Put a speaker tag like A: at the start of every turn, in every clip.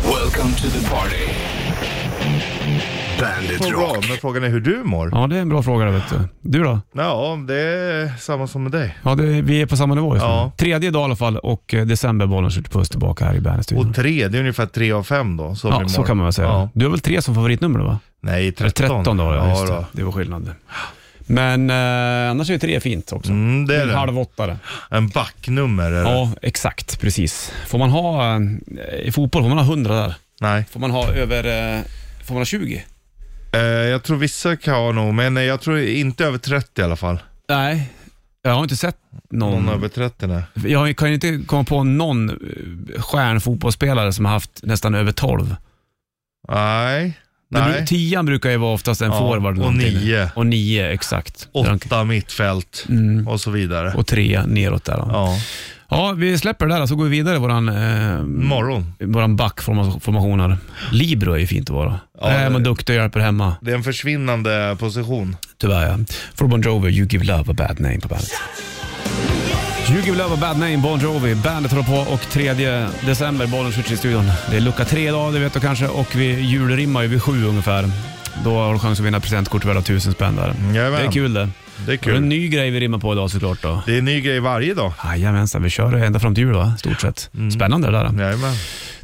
A: Welcome to the party. Bandit
B: Mår bra,
A: Rock.
B: men frågan är hur du mår?
C: Ja, det är en bra fråga det vet du. Du då?
B: Ja, det är samma som med dig.
C: Ja, det, vi är på samma nivå just nu.
B: Ja.
C: Tredje dag i alla fall och eh, decemberbollen skjuter puss tillbaka här i Bandystudion.
B: Och tre, det är ungefär tre av fem då. Så,
C: Ja, så kan man väl säga. Du har väl tre som favoritnummer då, va?
B: Nej,
C: Eller
B: 13.
C: 13 då, ja, just
B: då.
C: det. det var skillnad. Men eh, annars är ju tre fint också.
B: Mm, det är
C: en
B: det.
C: halv åttare.
B: En backnummer eller?
C: Ja, exakt. Precis. Får man ha, eh, i fotboll får man ha 100 där.
B: Nej.
C: Får man ha över, eh, får man ha 20?
B: Eh, jag tror vissa kan ha nog, men eh, jag tror inte över 30 i alla fall.
C: Nej, jag har inte sett någon.
B: Någon över 30 nej.
C: Jag kan ju inte komma på någon eh, stjärnfotbollsspelare som har haft nästan över 12.
B: Nej.
C: Det bru-
B: Nej.
C: Tian brukar ju vara oftast en
B: Ja,
C: forward.
B: och
C: någonting.
B: nio.
C: Och nio, exakt.
B: Åtta mittfält
C: Mm.
B: och så vidare.
C: Och tre neråt där. då.
B: Ja.
C: Ja, vi släpper det där så går vi vidare i våran, eh,
B: Morgon.
C: våran backformation här. Libero är ju fint att vara.
B: Ja,
C: Där är man
B: det-
C: duktig och hjälper hemma,
B: Det är en försvinnande position.
C: tyvärr ja. Från Bon Jovi, You Give Love a Bad Name på bandet. You Give Love a Bad Name, Bon Jovi. Bandet håller på och 3 december, bollen skjuts i studion. Det är lucka tre idag, det vet du kanske, och vi julrimmar ju vid sju ungefär. Då har du chans att vinna presentkort värda tusen spänn där.
B: Jajamän.
C: Det är kul det.
B: Det är
C: Det är en
B: kul.
C: ny grej vi rimmar på idag såklart då.
B: Det är en ny grej varje dag.
C: Jajamensan, vi kör ända fram till jul va? Stort sett. Spännande det där.
B: Jajamän.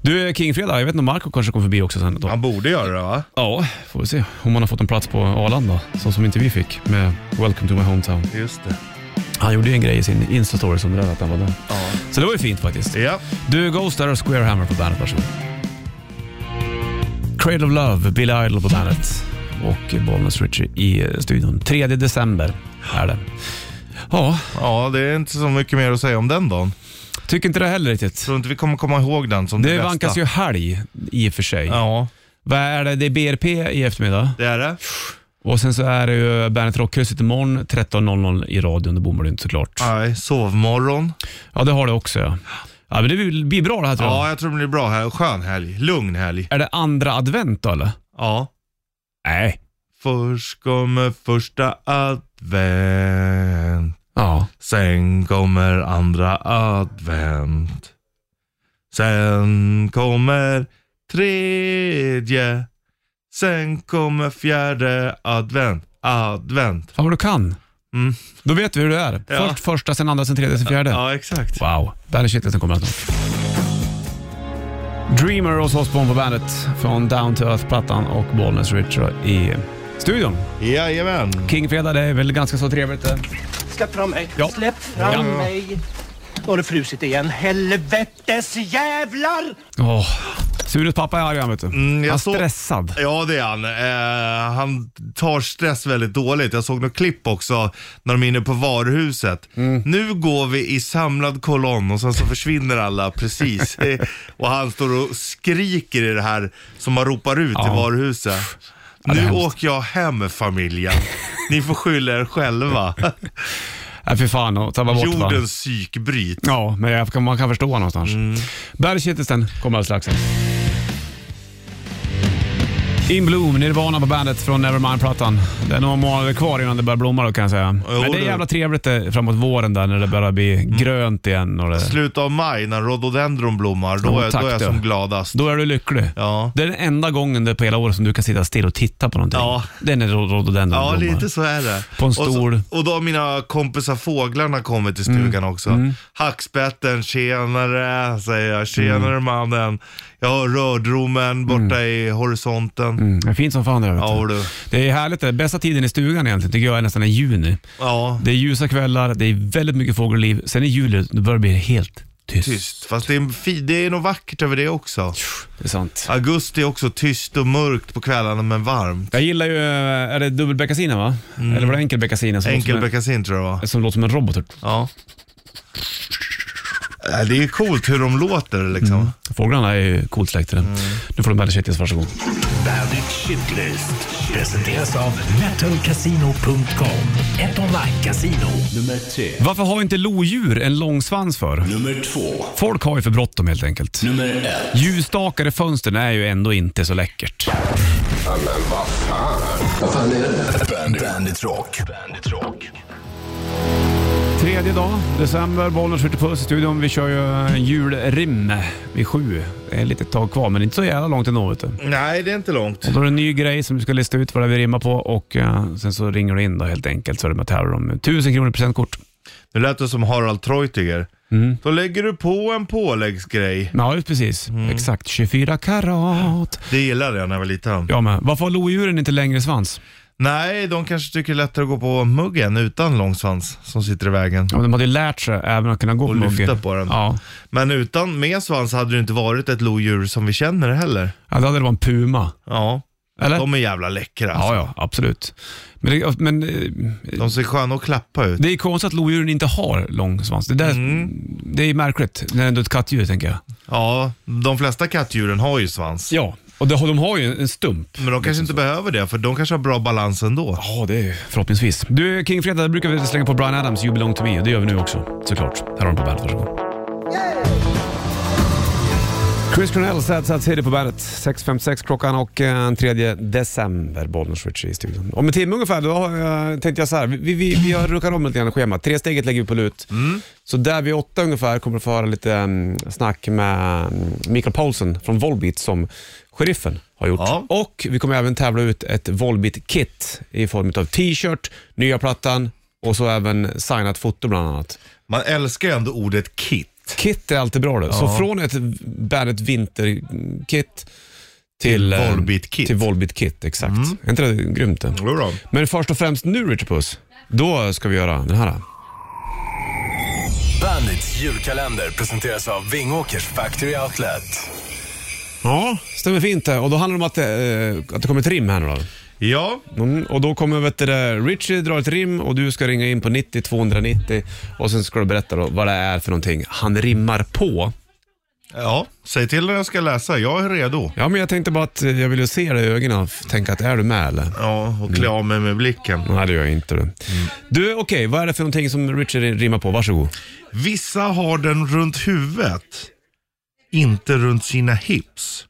C: Du, Kingfredag, jag vet inte om Marco kanske kommer förbi också sen då.
B: Han borde göra det va?
C: Ja, får vi se om han har fått en plats på Arlanda, så som inte vi fick med Welcome to my hometown.
B: Just det. han
C: Han gjorde ju en grej i sin Insta-story som det där att han var där.
B: Ja.
C: Så det var ju fint faktiskt.
B: Ja.
C: Du, Ghost där och Square Hammer på bandet, varsågod. Cradle of Love, Billy Idol på bandet och Bollnäs Richie i eh, studion. 3 december är det. Ja,
B: ja, det är inte så mycket mer att säga om den dagen.
C: tycker inte det heller riktigt.
B: Tror inte vi kommer komma ihåg den som det,
C: Det
B: bästa.
C: vankas ju helg i och för sig.
B: Ja,
C: Vad är det? Det är BRP i eftermiddag.
B: det är det.
C: Och sen så är det ju Bandet Rockhuset imorgon 13.00 i radion. Då bommar du inte såklart.
B: Nej, sovmorgon.
C: Ja, det har det också ja. Ja, men det blir blir bra det här tror jag.
B: Ja, jag tror det blir bra här. Skön helg. Lugn helg.
C: Är det andra advent då eller?
B: Ja.
C: Nej.
B: Först kommer första advent.
C: Ja.
B: Sen kommer andra advent. Sen kommer tredje. Sen kommer fjärde advent. Advent.
C: Fan vad du kan.
B: Mm.
C: Då vet vi hur det är.
B: Ja.
C: Först första, sen andra, sen tredje, sen fjärde.
B: Ja, exakt.
C: Wow. Bandet Shitlisten kommer alltså. Dreamer hos Osbourne på bandet från Down to Earth-plattan och Bollnäs Richard i studion.
B: Jajamän.
C: Kingfredag, det är väl ganska så trevligt det.
D: Släpp fram mig.
C: Ja.
D: Släpp fram
C: Ja.
D: mig. Nu har det frusit igen. Helvetes jävlar!
C: Åh, Sures pappa är arg han vet du.
B: Mm, jag
C: han är
B: såg-
C: stressad.
B: Ja, det är han. Eh, han tar stress väldigt dåligt. Jag såg något klipp också när de är inne på varuhuset.
C: Mm.
B: Nu går vi i samlad kolonn och sen så försvinner alla precis. Eh, och han står och skriker i det här som man ropar ut i
C: Ja.
B: varuhuset.
C: det är
B: nu
C: hemskt.
B: åker jag hem familjen. Ni får skylla er själva.
C: Nej Äh, fy fan, och tabba bort va?
B: Jordens psykbryt.
C: Ja, men jag kan, man kan förstå någonstans. Mm. Bergkittelsen kommer alldeles strax. In Bloom, Nirvana på bandet från Nevermind-plattan. Det är några månader kvar innan det börjar blomma då kan jag säga.
B: Jo,
C: Men det är
B: du. Mm.
C: jävla trevligt det, framåt våren där när det börjar bli grönt igen. Och det.
B: Slutet av maj när rhododendron blommar, då
C: Ja,
B: är,
C: tack
B: då är jag
C: du.
B: som gladast.
C: Då är du lycklig.
B: Ja.
C: Det är den enda gången där på hela året som du kan sitta still och titta på någonting.
B: Ja.
C: Det är när rod- rhododendron
B: Ja,
C: blommar.
B: lite så är det.
C: På en
B: Och,
C: stol. Mm.
B: så, och då har mina kompisar fåglarna kommit till stugan också. Hackspetten, tjenare, säger jag. Tjenare
C: Mm.
B: mannen. Jag har rördromen borta i horisonten.
C: Mm, det är fint som fan det är, vet
B: Ja,
C: du.
B: du.
C: Det är härligt. Det. Bästa tiden i stugan egentligen tycker jag är nästan i juni.
B: Ja,
C: Det är ljusa kvällar, det är väldigt mycket fågelliv. Sen i juli då börjar det bli helt tyst.
B: tyst. Fast det är, en fi- det är något vackert över det också.
C: Det är sant.
B: Augusti är också tyst och mörkt på kvällarna men varmt.
C: Jag gillar ju, eh, är det dubbelbeckasinen va? Eller var det enkelbeckasinen som, låter som en-
B: Enkelbeckasin tror jag det var.
C: som låter som en robot? typ.
B: Ja. Ja, Det är coolt hur de låter liksom.
C: Mm. Fåglarna är ju coolt släkte det. Nu får du Bandit Shitlist, varsågod.
A: Bandit Shitlist. Presenteras av metalcasino.com. Ett online-casino. Nummer tre.
C: Varför har inte lodjur en lång svans för?
A: Nummer två.
C: Folk har ju för bråttom helt enkelt.
A: Nummer ett.
C: Ljusstakar i fönstren är ju ändå inte så läckert.
A: Bandit. Bandit Rock. Bandit Rock.
C: Tredje dag, december, Bollnäs skjuter puss i studion. Vi kör ju julrim vid sju. Det är lite tag kvar, men inte så jävla långt ändå. Vet du.
B: Nej, det är inte långt.
C: Och då är det en ny grej som du ska lista ut vad det är vi rimmar på och eh, sen så ringer du in då helt enkelt så är det med att tävla om 1000 kronor i presentkort.
B: Nu lät det som Harald Treutiger.
C: Mm.
B: Då lägger du på en påläggsgrej.
C: Ja, just precis. Exakt. 24 karat.
B: Det gillade jag när jag var liten.
C: Ja, men varför har lodjuren inte längre svans?
B: Nej, de kanske tycker det är lättare att gå på muggen utan lång svans som sitter i vägen.
C: Ja, men de hade ju lärt sig även att kunna gå
B: Och
C: på
B: lyfta
C: muggen.
B: på den.
C: Ja.
B: Men utan med svans hade det inte varit ett lodjur som vi känner heller.
C: ja, då hade det varit en puma.
B: Ja,
C: Eller?
B: de är jävla läckra.
C: Ja, ja, absolut. Men, det, men eh,
B: De ser sköna att klappa ut.
C: det är konstigt att lodjuren inte har lång svans. Det, där, det är märkligt. Det är ändå ett kattdjur, tänker jag.
B: Ja, de flesta kattdjuren har ju svans.
C: Ja, och det, har- de har ju en stump.
B: Men de kanske inte behöver det, för de kanske har bra balans ändå.
C: Ja, det är förhoppningsvis. Du, King Fredag, där brukar vi slänga på Brian Adams You Belong To Me. Det gör vi nu också, såklart. Här har de på bandet, varsågod. Chris Cornell, Sad Sad City på bandet. 6.56 klockan och eh, 3 december, Bollnäs Ritchie i studion. Om en timme ungefär, då har jag- tänkte jag så här. Vi, vi, vi har ruckat om lite grann i schemat. Tre steget lägger vi på lut. Så där vid åtta ungefär kommer du få höra lite mm, snack med mm, Mikael Paulsen från Volbeat som sheriffen har gjort.
B: Ja.
C: Och vi kommer även tävla ut ett Volbeat-kit i form av t-shirt, nya plattan och så även signat foto bland annat.
B: Man älskar ju ändå ordet kit.
C: Kit är alltid bra det. Så från ett Bandet Vinter-kit till, Mm. eh,
B: Volbeat-kit.
C: till Volbeat-kit. Exakt. Är inte det grymt? Det?
B: Jo då.
C: Men först och främst nu Richard Puss, då ska vi göra den här.
A: Bandits julkalender presenteras av Vingåkers Factory Outlet.
C: Ja. Stämmer fint det. Och då handlar det om att, det, eh, att det kommer ett rim här nu då.
B: Ja,
C: Mm, och då kommer vet du, det, Richie dra ett rim och du ska ringa in på 90 290 och sen ska du berätta då vad det är för någonting han rimmar på.
B: ja. Säg till när jag ska läsa. Jag är redo.
C: Ja, men jag tänkte bara att eh, jag ville se dig i ögonen och tänka att är du med eller?
B: Ja, och klä av mig med blicken.
C: Nej, det gör jag inte. Du, du okej, vad är det för någonting som Richard rimmar på? Varsågod.
B: Vissa har den runt huvudet, inte runt sina hips.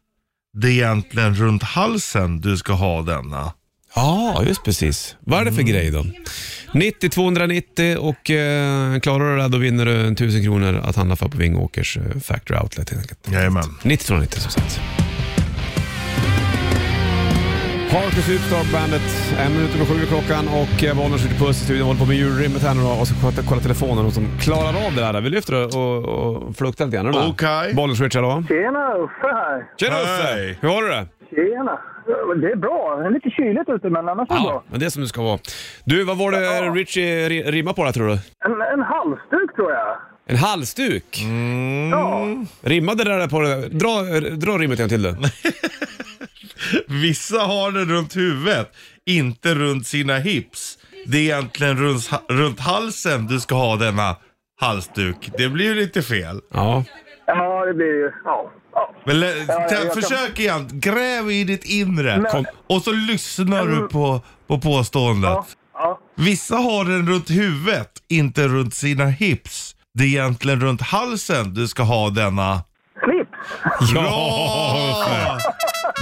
B: Det är egentligen runt halsen du ska ha denna.
C: Ja, just precis. Vad är det för grej då? 90 290 och eh, klarar du det här, då vinner du 1000 kronor att handla för på Vingåkers eh, Factory Outlet helt enkelt.
B: Jajamän.
C: 90 290 som sagt. Harkus Superstar Bandet, en minut över sju är klockan och eh, Bollnäs skjuter puss i studion. Håller på med julrimmet här nu då och så kolla, kolla telefonen och som klarar av det där. Vi lyfter och, och, och fluktar lite grann.
B: Okej.
C: Bollnäs Richard då.
E: Tjena Uffe här.
C: Tjena
B: Hej.
C: Uffe! Hur har du det?
E: Tjena. Det är bra. Det är lite kyligt ute men annars är det bra.
C: men det är som det ska vara. Du, vad var det Richie ri- rimmade på där tror du?
E: En, en halsduk tror jag.
C: En halsduk?
E: Ja.
C: Rimmade det där på det? Dra, dra rimmet en till du.
B: Vissa har den runt huvudet, inte runt sina hips. Det är egentligen runt, runt halsen du ska ha denna halsduk. Det blir ju lite fel.
C: Ja.
E: Ja, det blir ju... Ja. ja.
B: Men lä-
E: jag
B: ta-
E: kan-
B: försök igen. Gräv i ditt inre.
E: Men- Mm.
B: Kom. Och så lyssnar du på, på påståendet.
E: Ja. ja.
B: Vissa har den runt huvudet, inte runt sina hips. Det är egentligen runt halsen du ska ha denna.
E: Slips.
B: Bra!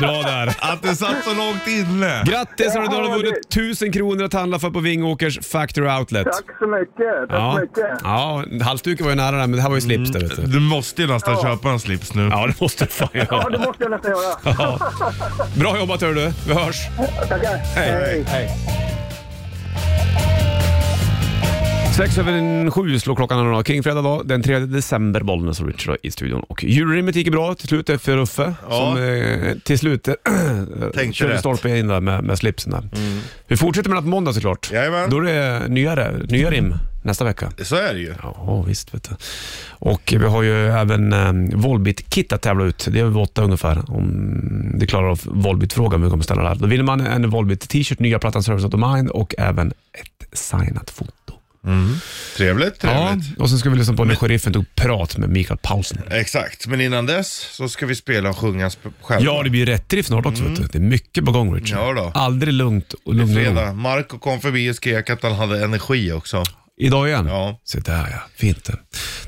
C: Bra där.
B: Att det satt så långt inne.
C: Grattis hörru, du har vunnit 1000 kronor att handla för på Vingåkers Factory Outlet.
E: Tack så mycket. Tack
C: Ja,
E: så mycket. Mm.
C: ja halsduken var ju nära där, men det här var ju slips där vet du.
B: Du måste ju nästan köpa en slips nu.
C: Ja, det måste du fan
E: Ja, det
C: göra.
E: måste jag nästan göra.
C: Ja. Bra jobbat hörru du. Vi hörs.
E: Tackar. Hej.
C: Sex över en sju slår klockan här idag. Kingfredag dag, den 3 december, Bollnäs och Richard i studion. Och julrimmet gick ju bra till slut för Uffe,
B: Ja.
C: som eh, till slut eh,
B: Tänkte
C: körde
B: rätt.
C: stolpe in där med, med slipsen där. Vi fortsätter med det på måndag såklart.
B: Jajamän.
C: Då är det nya, nya rim nästa vecka.
B: Så är det ju.
C: Ja, visst vet du. Och vi har ju även eh, Volbit-kit att tävla ut. Det är vid åtta ungefär, om det klarar av Volbit-frågan vi kommer ställa där. Då vinner man en Volbit-t-shirt, nya plattan Service of the Mind och även ett signat foto.
B: Trevligt,
C: Ja,
B: trevligt.
C: och sen ska vi lyssna på när sheriffen tog prat med Mikael Paulsen.
B: Exakt, men innan dess så ska vi spela och sjunga sp- själva.
C: Ja, det blir rätt drift snart också. Vet du. Det är mycket på gång Richard.
B: Ja då.
C: Aldrig lugnt och lugn och ro.
B: Fredag. Marco kom förbi och skrek att han hade energi också.
C: Idag igen?
B: Ja.
C: Se där ja, fint det.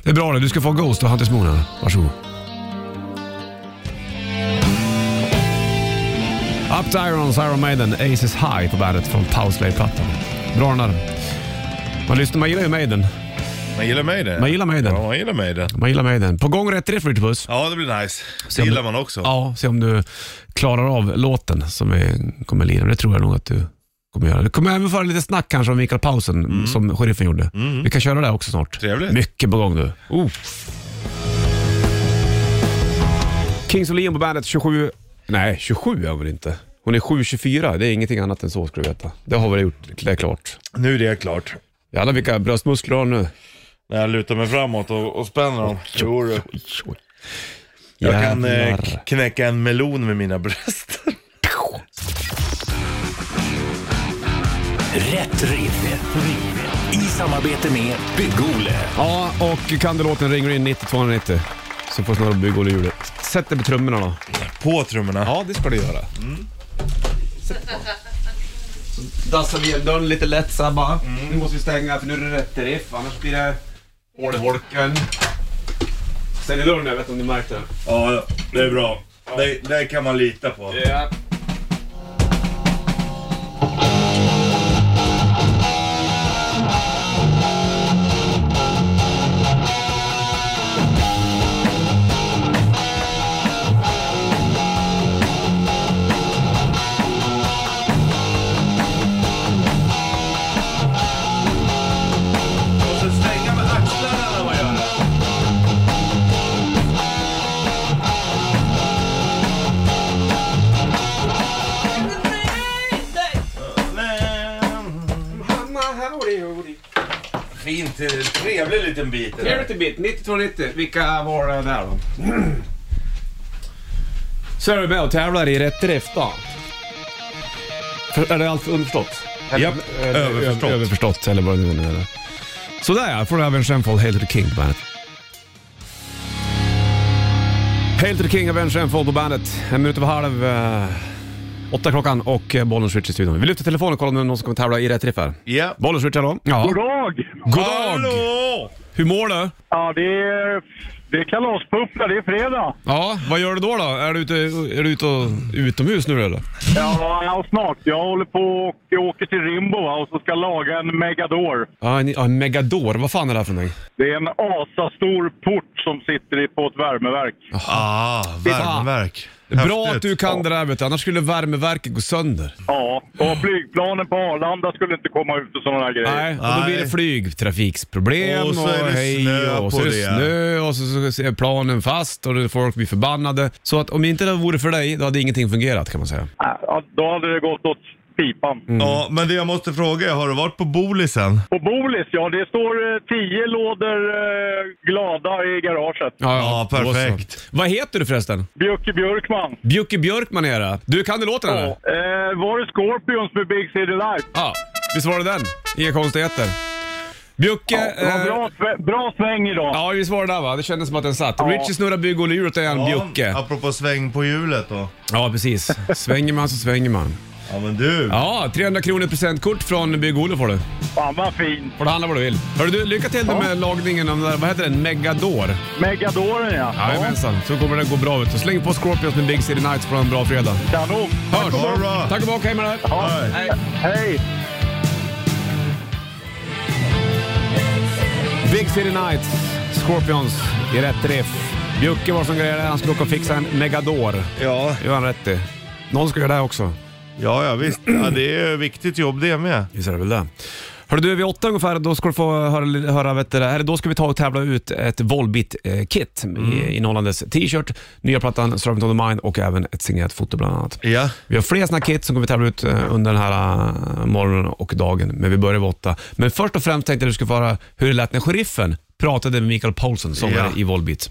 C: Det är bra det. Du ska få Ghost och Hunters Moon här. Varsågod. Up to Irons, Iron Maiden, Aces High på bandet från Powerslave-plattan. Bra den där. Man lyssnar, man gillar ju Maiden.
B: Man gillar mig det.
C: Man gillar Maiden.
B: Ja, man gillar mig det.
C: Man gillar Maiden. På gång rätt riff, Ritterpuss.
B: Ja, det blir nice.
C: Se
B: Det
C: om-
B: gillar man också.
C: Ja, se om du klarar av låten som vi kommer lira. Det tror jag nog att du kommer göra. Vi kommer även föra lite snack kanske om Mikael Pausen som sheriffen gjorde. Vi kan köra det också snart.
B: Mm. Trevligt.
C: Mycket på gång du. Oh. Kings of Leon på bandet 27... Nej, 27 är hon väl inte. Hon är 7,24. Det är ingenting annat än så ska du veta. Det har vi gjort. Det är klart.
B: Nu är det klart.
C: Jävlar vilka bröstmuskler du har nu.
B: När jag lutar mig framåt och, och spänner dem. Jo, du. jag kan eh,
C: Jävlar.
B: k- knäcka en melon med mina bröst.
A: Rätt riff. I samarbete med Bygg-Ole.
C: Ja, och kan du låten ringer du in 90-290 så får snurra på bygg och hjulet. Sätt dig på trummorna då.
B: På trummorna.
C: Ja, det ska du göra.
F: Mm. Dassar vi dörren lite lätt så här bara. Nu måste vi stänga för nu är det rätt riff annars blir det hål i holken. Stäng dörren jag vet inte om ni märkte det.
B: Ja, det är bra. Det, det kan man lita på.
F: Ja.
B: Måste stänga med axlarna när man gör det. Fint, trevlig liten bit. det där.
F: Charity Bit 9290. Vilka var det där då?
C: Så är du med och tävlar i rätt drift då. För, är det allt underförstått?
B: Japp,
C: Eller-
B: överförstått.
C: ö- Överförstått eller vad det nu är. Sådär ja, från Avenged Sevenfold, Hail to the King på bandet. Hail to the King, Avenged Sevenfold på bandet. En minut över halv eh, åtta klockan och eh, bollen switch i studion. Vi lyfter telefonen och kollar om det är någon som kommer tävla i rätt riff här.
B: Ja.
C: Bollen switch, hallå? Ja. God
G: dag!
C: dag!
B: Hallå!
C: Hur mår du?
G: Ja, det är, det är kalaspuffla, det är fredag.
C: Ja, vad gör du då? då? Är du ute, är du ute och, utomhus nu eller?
G: Ja, ja, snart. Jag håller på och jag åker till Rimbo va, och så ska laga en Megador.
C: Ja, en, ja, en Megador. Vad fan är det här för någonting?
G: Det är en asastor port som sitter i- på ett värmeverk.
B: Ah, värmeverk.
C: Bra att du kan det där vet du, annars skulle värmeverket gå sönder.
G: Ja, och flygplanen på Arlanda skulle inte komma ut och sådana där grejer.
C: Nej, och då blir det
B: Nej.
C: flygtrafiksproblem
B: Och så är det
C: hej,
B: snö
C: och så är
B: på
C: det
B: det.
C: snö och så, så är planen fast och det- folk blir förbannade. Så att om inte det vore för dig, då hade ingenting fungerat kan man säga.
G: Ja, då hade det gått åt pipan.
B: Ja, men det jag måste fråga är, har du varit på Bolisen?
G: På Bolis, ja, det står eh, tio lådor eh, glada i garaget.
B: Ja,
C: då så.
B: perfekt.
C: Vad heter du förresten?
G: Bjöcke Björkman.
C: Bjucke Björkman är det. Du, kan du låten eller?
G: Ja. Eh, var det Scorpions med Big City Life?
C: Ja, visst var det den? Inga konstigheter. Bjucke...
G: Det var
C: eh,
G: bra, sve- bra sväng idag.
C: Ja, visst var det där va? Det kändes som att den satt. Richie snurrar bygg och djuret igen, Bjucke.
B: apropå sväng på hjulet då.
C: Ja, precis. Svänger man så svänger man.
B: Ja, men du.
C: Ja, 300 kronor i presentkort från Bygg-Ole får du.
G: Fan vad fin.
C: Får du handla vad du vill. Hörru du, lycka till nu med lagningen av den där, vad heter den, Megador?
G: Megadoren ja.
C: Jajamensan, så kommer det gå bra ut. Så släng på Scorpions med Big City Nights på en bra fredag.
G: Kanon.
C: Hörs!
B: Ha det bra.
C: Tack och bock, hej med dig!
B: Hej.
G: Hej.
C: Big City Nights, Scorpions i rätt riff. Bjucke var som grejade, han skulle åka och fixa en Megador.
B: Ja,
C: Det gör han rätt i. Någon ska göra det här också.
B: ja, ja visst. Ja, det är ett viktigt jobb det med.
C: Visst är det väl det. Hörru du, vid åtta ungefär, då ska du få höra, höra vet du, det här, då ska vi ta och tävla ut ett Volbit-kit
B: Mm.
C: innehållandes t-shirt, nya plattan Servant on the Mind och även ett signerat foto bland annat.
B: Ja.
C: Vi har flera sådana kit som kommer tävla ut eh, under den här eh, morgonen och dagen, men vi börjar vid åtta. Men först och främst tänkte jag att du skulle få höra hur det lät när sheriffen pratade med Mikael Paulsen, sångare
B: Ja.
C: i Volbit.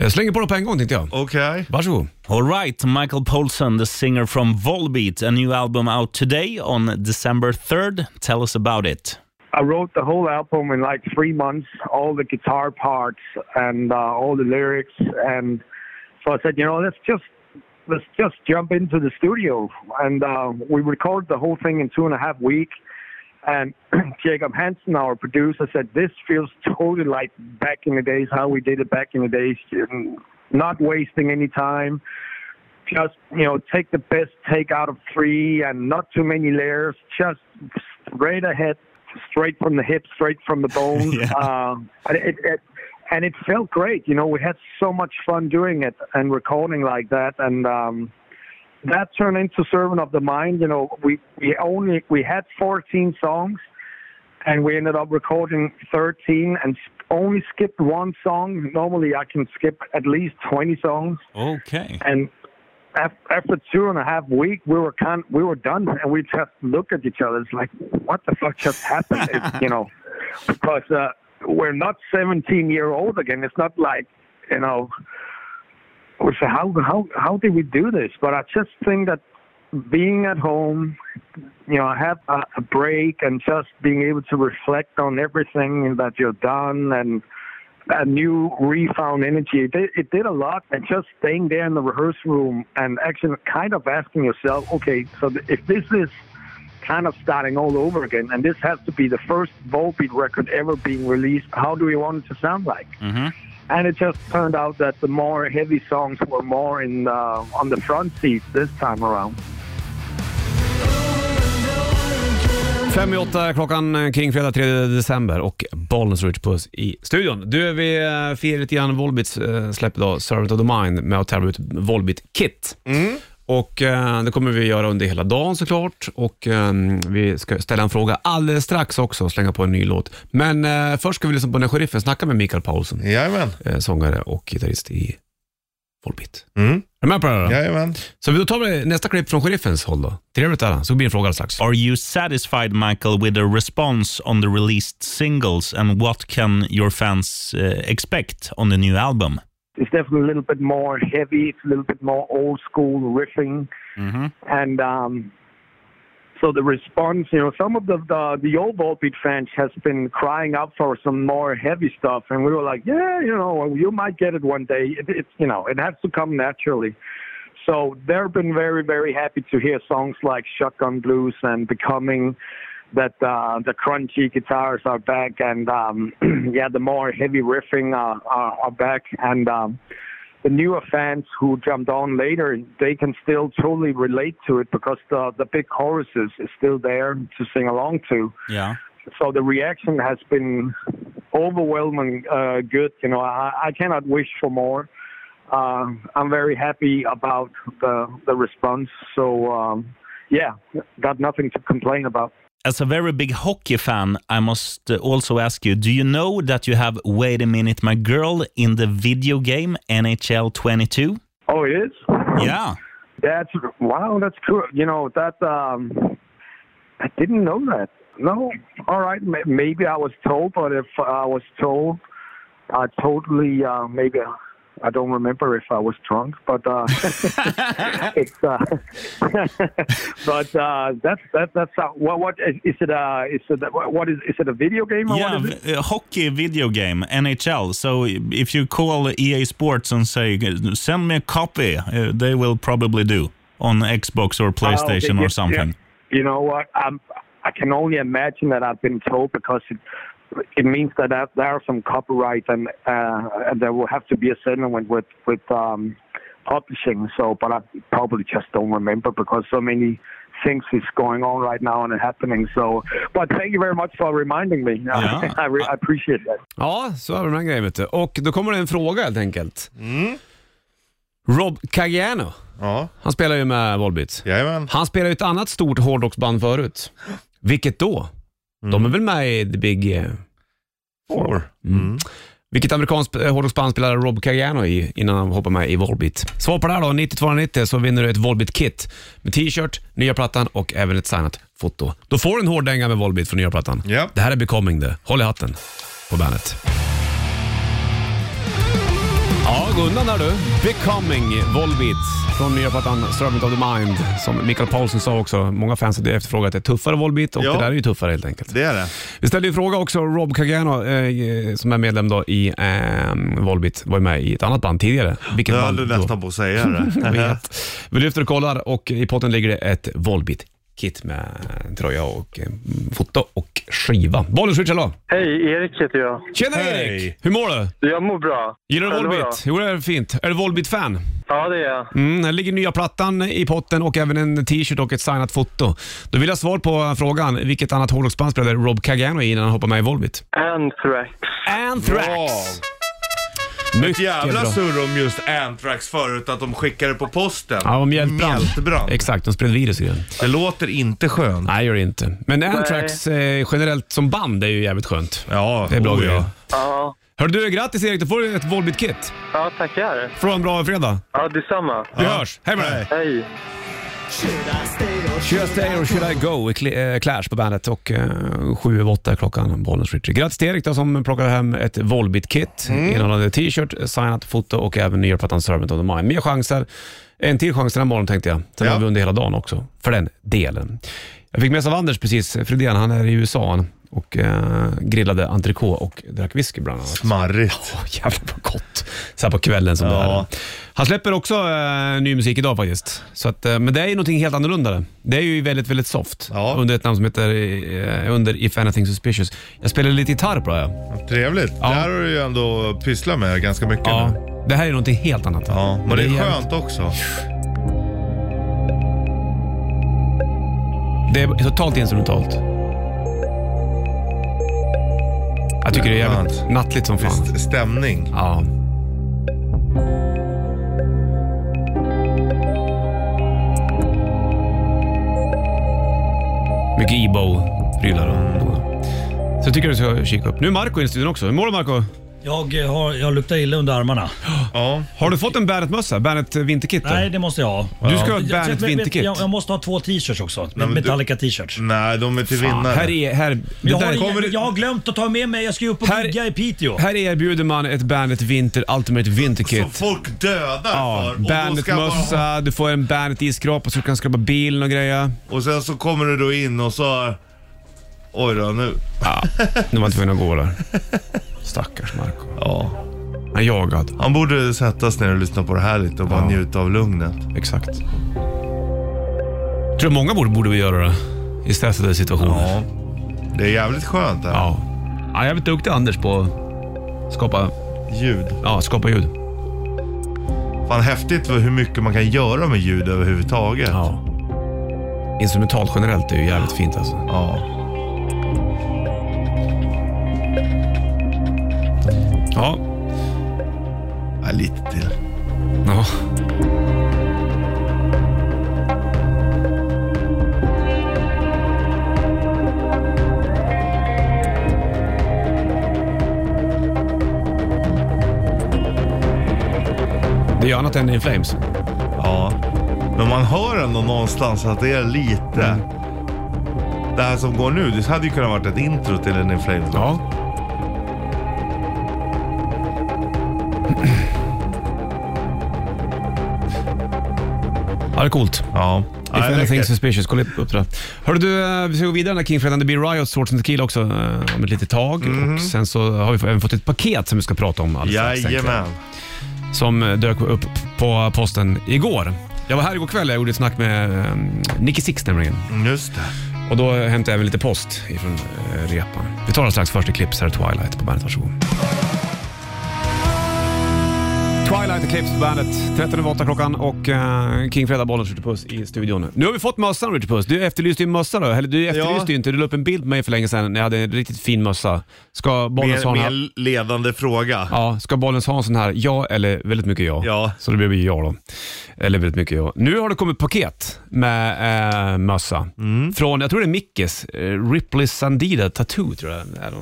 C: Jag slänger på det på en gång tänkte jag.
B: Okej.
C: Varsågod.
H: All right, Michael Polson, the singer from Volbeat, a new album out today on December 3rd. Tell us about it.
I: I wrote the whole album in like three months, all the guitar parts and uh, all the lyrics, and so I said, you know, let's just let's just jump into the studio, and uh, we recorded the whole thing in two and a half weeks. And Jacob Hansen, our producer, said this feels totally like back in the days how we did it back in the days, not wasting any time just you know take the best take out of three and not too many layers just straight ahead straight from the hip, straight from the bones.
C: Yeah.
I: um, and, it, it, and it felt great. You know, we had so much fun doing it and recording like that. And um, that turned into Servant of the Mind. You know, we, we only we had 14 songs, and we ended up recording 13 and s- only skipped one song. Normally, I can skip at least 20 songs
H: Okay.
I: and af- after two and a half week, we were kind, we were done, and we just looked at each other. It's like, what the fuck just happened? It's, you know, because uh, we're not 17 year old again. It's not like, you know, we say how how how did we do this? But I just think that being at home, you know, have a, a break and just being able to reflect on everything that you've done and a new refound energy. It did, it did a lot, and just staying there in the rehearsal room and actually kind of asking yourself, okay, so th- if this is kind of starting all over again, and this has to be the first Volbeat record ever being released, how do we want it to sound like?
H: Mhm.
I: And it just turned out that the more heavy songs were more in uh, on the front seat this time around.
C: Fem i åtta klockan eh, kring fredag 3 december och Bollnäs Rich Puss i studion. Du, vi eh, firar lite grann Volbits eh, släpp idag, Servant of the Mind, med att tävla ut Volbit Kit. Och eh, det kommer vi göra under hela dagen såklart och eh, vi ska ställa en fråga alldeles strax också och slänga på en ny låt. Men eh, först ska vi lyssna på när sheriffen snackar med Mikael Paulsen,
B: Jajamän.
C: eh, sångare och gitarrist i Volbit.
B: Mm.
C: Är du med på det här då?
B: Jajamän.
C: Så vi då tar vi nästa klipp från sheriffens håll då. Trevligt där, så blir det en fråga alldeles strax.
H: Are you satisfied, Michael, with the response on the released singles, and what can your fans uh, expect on the new album?
I: it's definitely a little bit more heavy. It's a little bit more old school riffing, and um, so the response, you know, some of the the, the old Volbeat fans has been crying out for some more heavy stuff, and we were like, yeah, you know, you might get it one day. It, it's you know, it has to come naturally. So they've been very, very happy to hear songs like Shotgun Blues and Becoming, that uh, the crunchy guitars are back, and um, yeah, the more heavy riffing are, are, are back, and um, the newer fans who jumped on later, they can still totally relate to it because the the big choruses is still there to sing along to
H: Yeah.
I: so the reaction has been overwhelming uh, good. You know, I, I cannot wish for more. Uh, I'm very happy about the the response. So um, yeah, got nothing to complain about.
H: As a very big hockey fan, I must uh, also ask you do you know that you have Wait a Minute My Girl in the video game NHL 22?
I: Oh, it is.
H: Yeah.
I: That's wow. That's cool. You know that um, I didn't know that. No, all right. ma- Maybe I was told, but if I was told, I totally uh, maybe I don't remember if I was drunk, but uh, it's uh, but uh, that's that, that's uh, what what is is it? Uh, is it what what is is it a video game? Or
H: Yeah,
I: what is it?
H: v- uh, hockey video game, NHL. So if you call EA Sports and say, send me a copy, uh, they will probably do on Xbox
B: Ah,
I: Oh,
H: or
I: okay,
H: PlayStation
I: yeah,
H: or something.
I: yeah. You know what? I'm, I can only imagine that I've been told because it, it means that there- there are some copyright and, uh, and there will have to be a settlement with with um, publishing. So, but I probably just don't remember because so many things is going on right now and happening. So, but thank you very much for reminding me.
H: Yeah.
I: I, re- I appreciate that.
C: Ja, så är det med den grejen vet du. Och då kommer det en fråga helt enkelt. Rob Caggiano,
B: Ja,
C: han spelar ju med Volbeat.
B: jajamän.
C: Han spelar ju ett annat stort hårdrocksband förut. Vilket då? De är väl med i The Big... eh,
B: Four.
C: Vilket amerikanskt eh, hårdrocksband spelade Rob Caggiano i innan han hoppade med i Volbeat? Svar på det här då, 9290 så vinner du ett Volbeat-kit med t-shirt, nya plattan och även ett signat foto. Då får du en hård dänga med Volbeat från nya plattan.
B: Ja.
C: Det här är Becoming det. Håll i hatten på bandet. Ja, gå undan där du. Becoming Volbeat från nya plattan Servant of the Mind. Som Mikael Paulsen sa också, många fans har efterfrågat ett tuffare Volbeat och
B: Ja.
C: det där är ju tuffare helt enkelt.
B: Det är det.
C: Vi ställde ju en fråga också, Rob Cagano eh, som är medlem då i eh, Volbit, var ju med i ett annat band tidigare. Vilket
B: Jag
C: band
B: höll nästan på att säga det.
C: Jag vet. Vi lyfter och kollar och i potten ligger det ett Volbit kit med tröja och eh, foto och skiva. Bollen switch, hallå!
E: Hej, Erik heter jag.
C: Tjena
B: Hej.
C: Erik! Hur mår du?
E: Jag mår bra.
C: Gillar du
E: Själv då?
C: Volbeat? Jo, det är fint. Är du Volbeat-fan?
E: Ja, det är jag.
C: Mm, här ligger nya plattan i potten och även en t-shirt och ett signat foto. Då vill jag svar på eh, frågan, vilket annat hårdrocksband spelade Rob Cagano i innan han hoppade med i Volbeat?
E: Anthrax.
C: Anthrax! Mycket
B: Ett jävla
C: bra.
B: surr om just Anthrax förut, att de skickade på posten.
C: Ja, om mjältbrand.
B: Mjältbrand.
C: Exakt, de spred virus i den.
B: Det låter inte skönt.
C: Nej, gör det inte. Men Anthrax eh, generellt som band är ju jävligt skönt.
B: Ja,
C: Det är bra
B: oh,
C: grejer.
B: ja.
E: Ja,
C: Hör du, grattis Erik, du får ett Volbeat-kit.
E: ja tackar.
C: Från en bra fredag.
E: Ja, detsamma.
C: Vi hörs. Hej med dig!
E: Hej.
C: Should I stay or should I go? i Cl- eh, Clash på bandet och eh, sju över åtta är klockan. Bollens Richie. Grattis till Erik då, som plockade hem ett Volbit-kit innehållande t-shirt, signat foto och även nya plattan Servant of the Mind. Mer chanser. En till chans den här morgonen tänkte jag. Sen
B: Ja.
C: har vi under hela dagen också, för den delen. Jag fick med av Anders precis, Fredén, han är i USA han, och eh, grillade entrecote och drack whisky bland annat.
B: Smarrigt.
C: Åh, jävlar vad gott. Så här på kvällen som det här.
B: Ja.
C: Han släpper också eh, ny musik idag faktiskt. Så att, eh, men det är ju någonting helt annorlunda. det. Det är ju väldigt, väldigt soft.
B: Ja.
C: Under ett namn som heter eh, under If Anything Suspicious. Jag spelar lite gitarr på det här.
B: Trevligt. Det här har du ju ändå pysslat med ganska mycket
C: Ja.
B: nu.
C: Det här är någonting helt annat.
B: Ja, men det är
C: jävligt-
B: skönt också.
C: Det är totalt instrumentalt. Jag tycker det är jävligt
B: Skönt.
C: nattligt som fan.
B: Visst stämning.
C: Ja. Mycket Ebo-prylar och Så jag tycker du ska kika upp. Nu är Marco i studion också. Hur mår du Marco?
J: Jag, eh, har, jag luktar illa under armarna.
B: Ja.
C: Har du fått en Bandet-mössa? Bandet eh, vinterkit? då?
J: Nej, det måste jag ha.
C: Du ska ha
J: Jag-
C: ett
J: jag-
C: Bandet
J: men- men-
C: vinterkit.
J: Jag, jag måste ha två t-shirts också.
B: men du-
J: Metallica t-shirts.
B: Nej, de är till vinnare.
C: Här, är, här, det
J: Jag har,
C: där,
J: ingen, jag har glömt att ta med mig. Jag ska ju upp och
C: Här-
J: gigga i Piteå.
C: här erbjuder man ett Bandet Vinter Ultimate
B: Som
C: Vinterkit.
B: Alltså, folk dödar
C: Ja,
B: för. Och, då ska man ha,
C: Bandet-mössa, du får en Bandet-isskrapa så du kan skrapa bilen och grejer.
B: och sen så kommer du då in och så... Oj då, nu.
C: Nu var man tvungen att gå där. Stackars Marco.
B: Ja.
C: Han är jagad.
B: Han borde sätta sig ner och lyssna på det här lite och bara
C: Ja.
B: njuta av lugnet.
C: Exakt. tror många borde, borde vi göra det i stressade situationer. Ja.
B: Ja. Det är jävligt skönt det här.
C: ja. ja jag är duktig Anders på att skapa,
B: Ljud.
C: ja, skapa ljud.
B: Fan häftigt för hur mycket man kan göra med ljud överhuvudtaget.
C: Ja. Instrumentalt generellt är ju jävligt fint alltså.
B: Ja.
C: Ja.
B: ja lite till.
C: ja. Det är ju annat än In Flames.
B: Ja. Men man hör ändå någonstans att det är lite... Det här som går nu, det hade ju kunnat varit ett intro till en inflamed.
C: Mm. Ja. Ja, det är coolt.
B: Ja.
C: If
B: Ja,
C: anything
B: läckert.
C: suspicious, kolla upp det. Hörru du, eh, vi ska gå vidare den här Kingfredagen. Det blir Riot, Swords and Tequila också eh, om ett litet tag.
B: Mhm.
C: Och sen så har vi även fått ett paket som vi ska prata om alldeles strax, tänkte jag.
B: Jajamän.
C: Som eh, dök upp på posten igår. Jag var här igår kväll, jag gjorde ett snack med eh, Nicky Six nämligen.
B: Just det.
C: Och då hämtade jag även lite post ifrån eh, repan. Vi tar strax först Eclipse här, Twilight på bandet. Varsågod. Twilight Eclipse på bandet. 13 över 8 klockan och eh, King Fredag Bollens Ritchie Puss i studion. Nu har vi fått mössan Ritchie Puss. Du efterlyste ju en mössa då. Eller du efterlyste ju inte. Du la upp en bild på mig för länge sedan när jag hade en riktigt fin mössa. Ska
B: Mer,
C: Bollens ha en här?
B: mer ledande fråga.
C: Ja, ska Bollens ha en sån här? Ja eller väldigt mycket ja.
B: Ja.
C: Så det blir ju ja då. Eller väldigt mycket ja. Nu har det kommit paket med eh, mössa.
B: Mm.
C: Från, jag tror det är Mickes, eh, Ripley Sandida Tattoo tror jag är de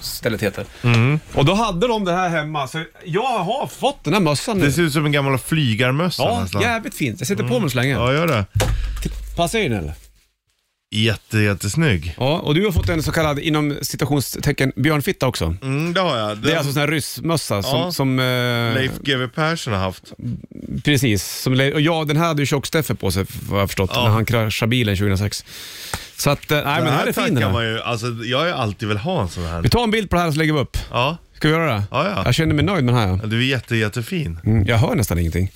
C: stället heter.
B: Mm.
C: Och då hade de det här hemma, så jag har fått den här mössan nu.
B: Det ser ut som en gammal flygarmössa
C: Ja,
B: nästan.
C: jävligt fint. Jag sätter på mig så länge.
B: Mm. Ja, gör det.
C: Passar in eller?
B: Jätte, jättesnygg.
C: Ja, och du har fått en så kallad, inom citationstecken, björnfitta också.
B: Mm, det har jag. Den
C: Det är alltså en sån här ryssmössa som...
B: Ja.
C: som eh,
B: Leif GW Persson har haft.
C: Precis. Som, Le- och ja, den här hade ju Tjock-Steffe på sig vad jag har förstått,
B: Ja.
C: när han kraschade bilen 2006. Så att, eh, nej men den här är fin den
B: tackar
C: här.
B: man ju. Alltså, jag har ju alltid velat ha en sån här.
C: Vi tar en bild på det här så lägger vi upp.
B: Ja,
C: Ska vi göra det?
B: Ja, ja.
C: Jag känner mig nöjd med den här. ja.
B: du är jätte, jättefin.
C: Mm, jag hör nästan ingenting.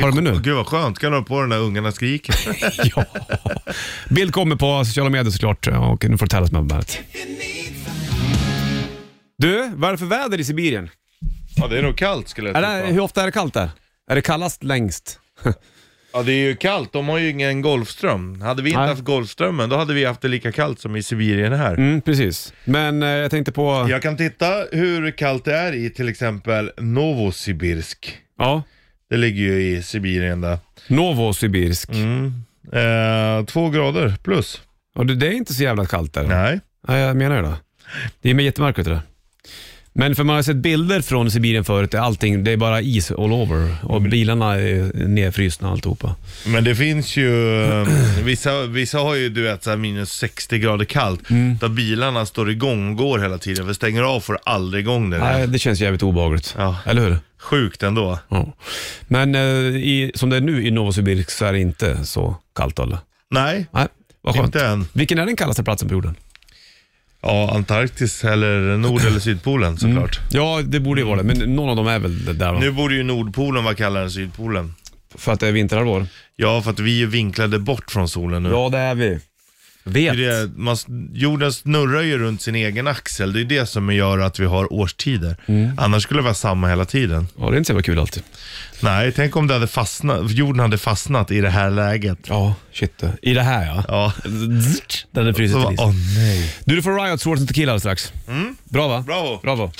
B: Par minut. Gud vad skönt, kan du ha på den när ungarna skriker.
C: ja. Bild kommer på sociala medier såklart och nu får du tävla med på bandet. Du, vad är det för väder i Sibirien?
B: Ja, det är nog kallt skulle jag
C: Är
B: tippa.
C: det, hur ofta är det kallt där? Är det kallast längst?
B: Ja, det är ju kallt. De har ju ingen Golfström. Hade vi inte
C: Nej.
B: haft Golfströmmen, då hade vi haft det lika kallt som i Sibirien här.
C: Mm, precis. Men eh, jag tänkte på...
B: Jag kan titta hur kallt det är i till exempel Novosibirsk.
C: Ja.
B: Det ligger ju i Sibirien där.
C: Novosibirsk.
B: Mm. Eh, två grader plus.
C: Ja, det det är inte så jävla kallt där.
B: Nej.
C: Ja, jag menar det då. Det är jättemärkligt det där. Men för man har sett bilder från Sibirien förut, allting, det är bara is all over och bilarna är nedfrusna alltihopa.
B: Men det finns ju, eh, vissa, vissa har ju du vet så här minus 60 grader kallt,
C: Mm.
B: där bilarna står igång och går hela tiden. För stänger av får du aldrig igång den.
C: Nej, det känns jävligt obehagligt. Eller hur?
B: Sjukt ändå.
C: Ja. Men eh, i, som det är nu i Novosibirsk så är det inte så kallt eller?
B: Nej,
C: Nej, vad skönt.
B: inte än.
C: Vilken är den kallaste platsen på jorden?
B: Ja, Antarktis eller Nord eller Sydpolen såklart.
C: Ja, det borde ju vara det, men någon av dem är väl där va?
B: Nu borde ju Nordpolen vara kallare än Sydpolen.
C: För att det är vinterhalvår?
B: Ja, för att vi är vinklade bort från solen nu.
C: Ja, det är vi. Vet.
B: Det är, man, jorden snurrar ju runt sin egen axel. Det är det som gör att vi har årstider.
C: Mm.
B: Annars skulle det vara samma hela tiden.
C: Ja, det är inte så jävla kul alltid.
B: Nej, tänk om det hade fastnat, jorden hade fastnat i det här läget.
C: Ja, shit. I det här ja.
B: Ja.
C: Där det fryser
B: Så,
C: till is.
B: åh nej.
C: Du, du får Riot Swords and Tequila alldeles strax. Bra va?
B: Bravo.
C: Bravo.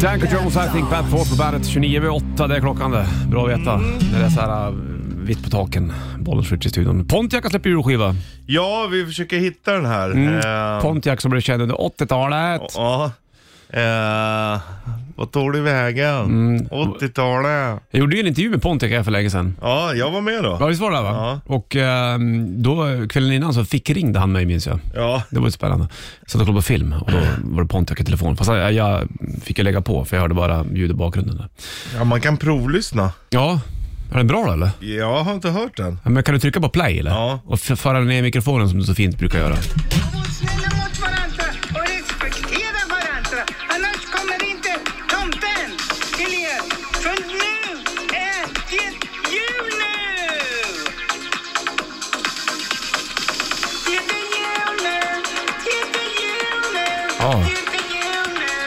C: Danko Jones, I think bad for på bandet. 29 över 8, det är klockan det. Bra att veta. När det är så här äh, vitt på taken. Bollen skjuts i studion. Pontiac har släppt julskiva.
B: Ja, vi försöker hitta den här. Eh,
C: Pontiac som blev känd under 80-talet.
B: ja. Eh, vad tog du vägen? 80-talet.
C: Jag gjorde ju en intervju med Pontiac här för länge sedan.
B: Ja, jag var med
C: Ja,
B: då.
C: visst var det där, va? Och ehm, då, kvällen innan så fick ringde han mig minns jag.
B: Ja.
C: Det var ju spännande. Jag satt och kollade på film och då var det Pontiac i telefon. Fast jag, jag fick ju lägga på för jag hörde bara ljud i bakgrunden där.
B: ja, man kan provlyssna.
C: Ja, är den bra då eller?
B: Jag har inte hört den.
C: Ja, Men kan du trycka på play eller?
B: Ja.
C: Och f- föra ner mikrofonen som du så fint brukar göra.
K: Var snälla mot varandra och respektera varandra. Annars kommer inte tomten till er. För nu är det jul nu! Det är jul nu, det är jul nu,
C: Ja.
K: det är jul nu.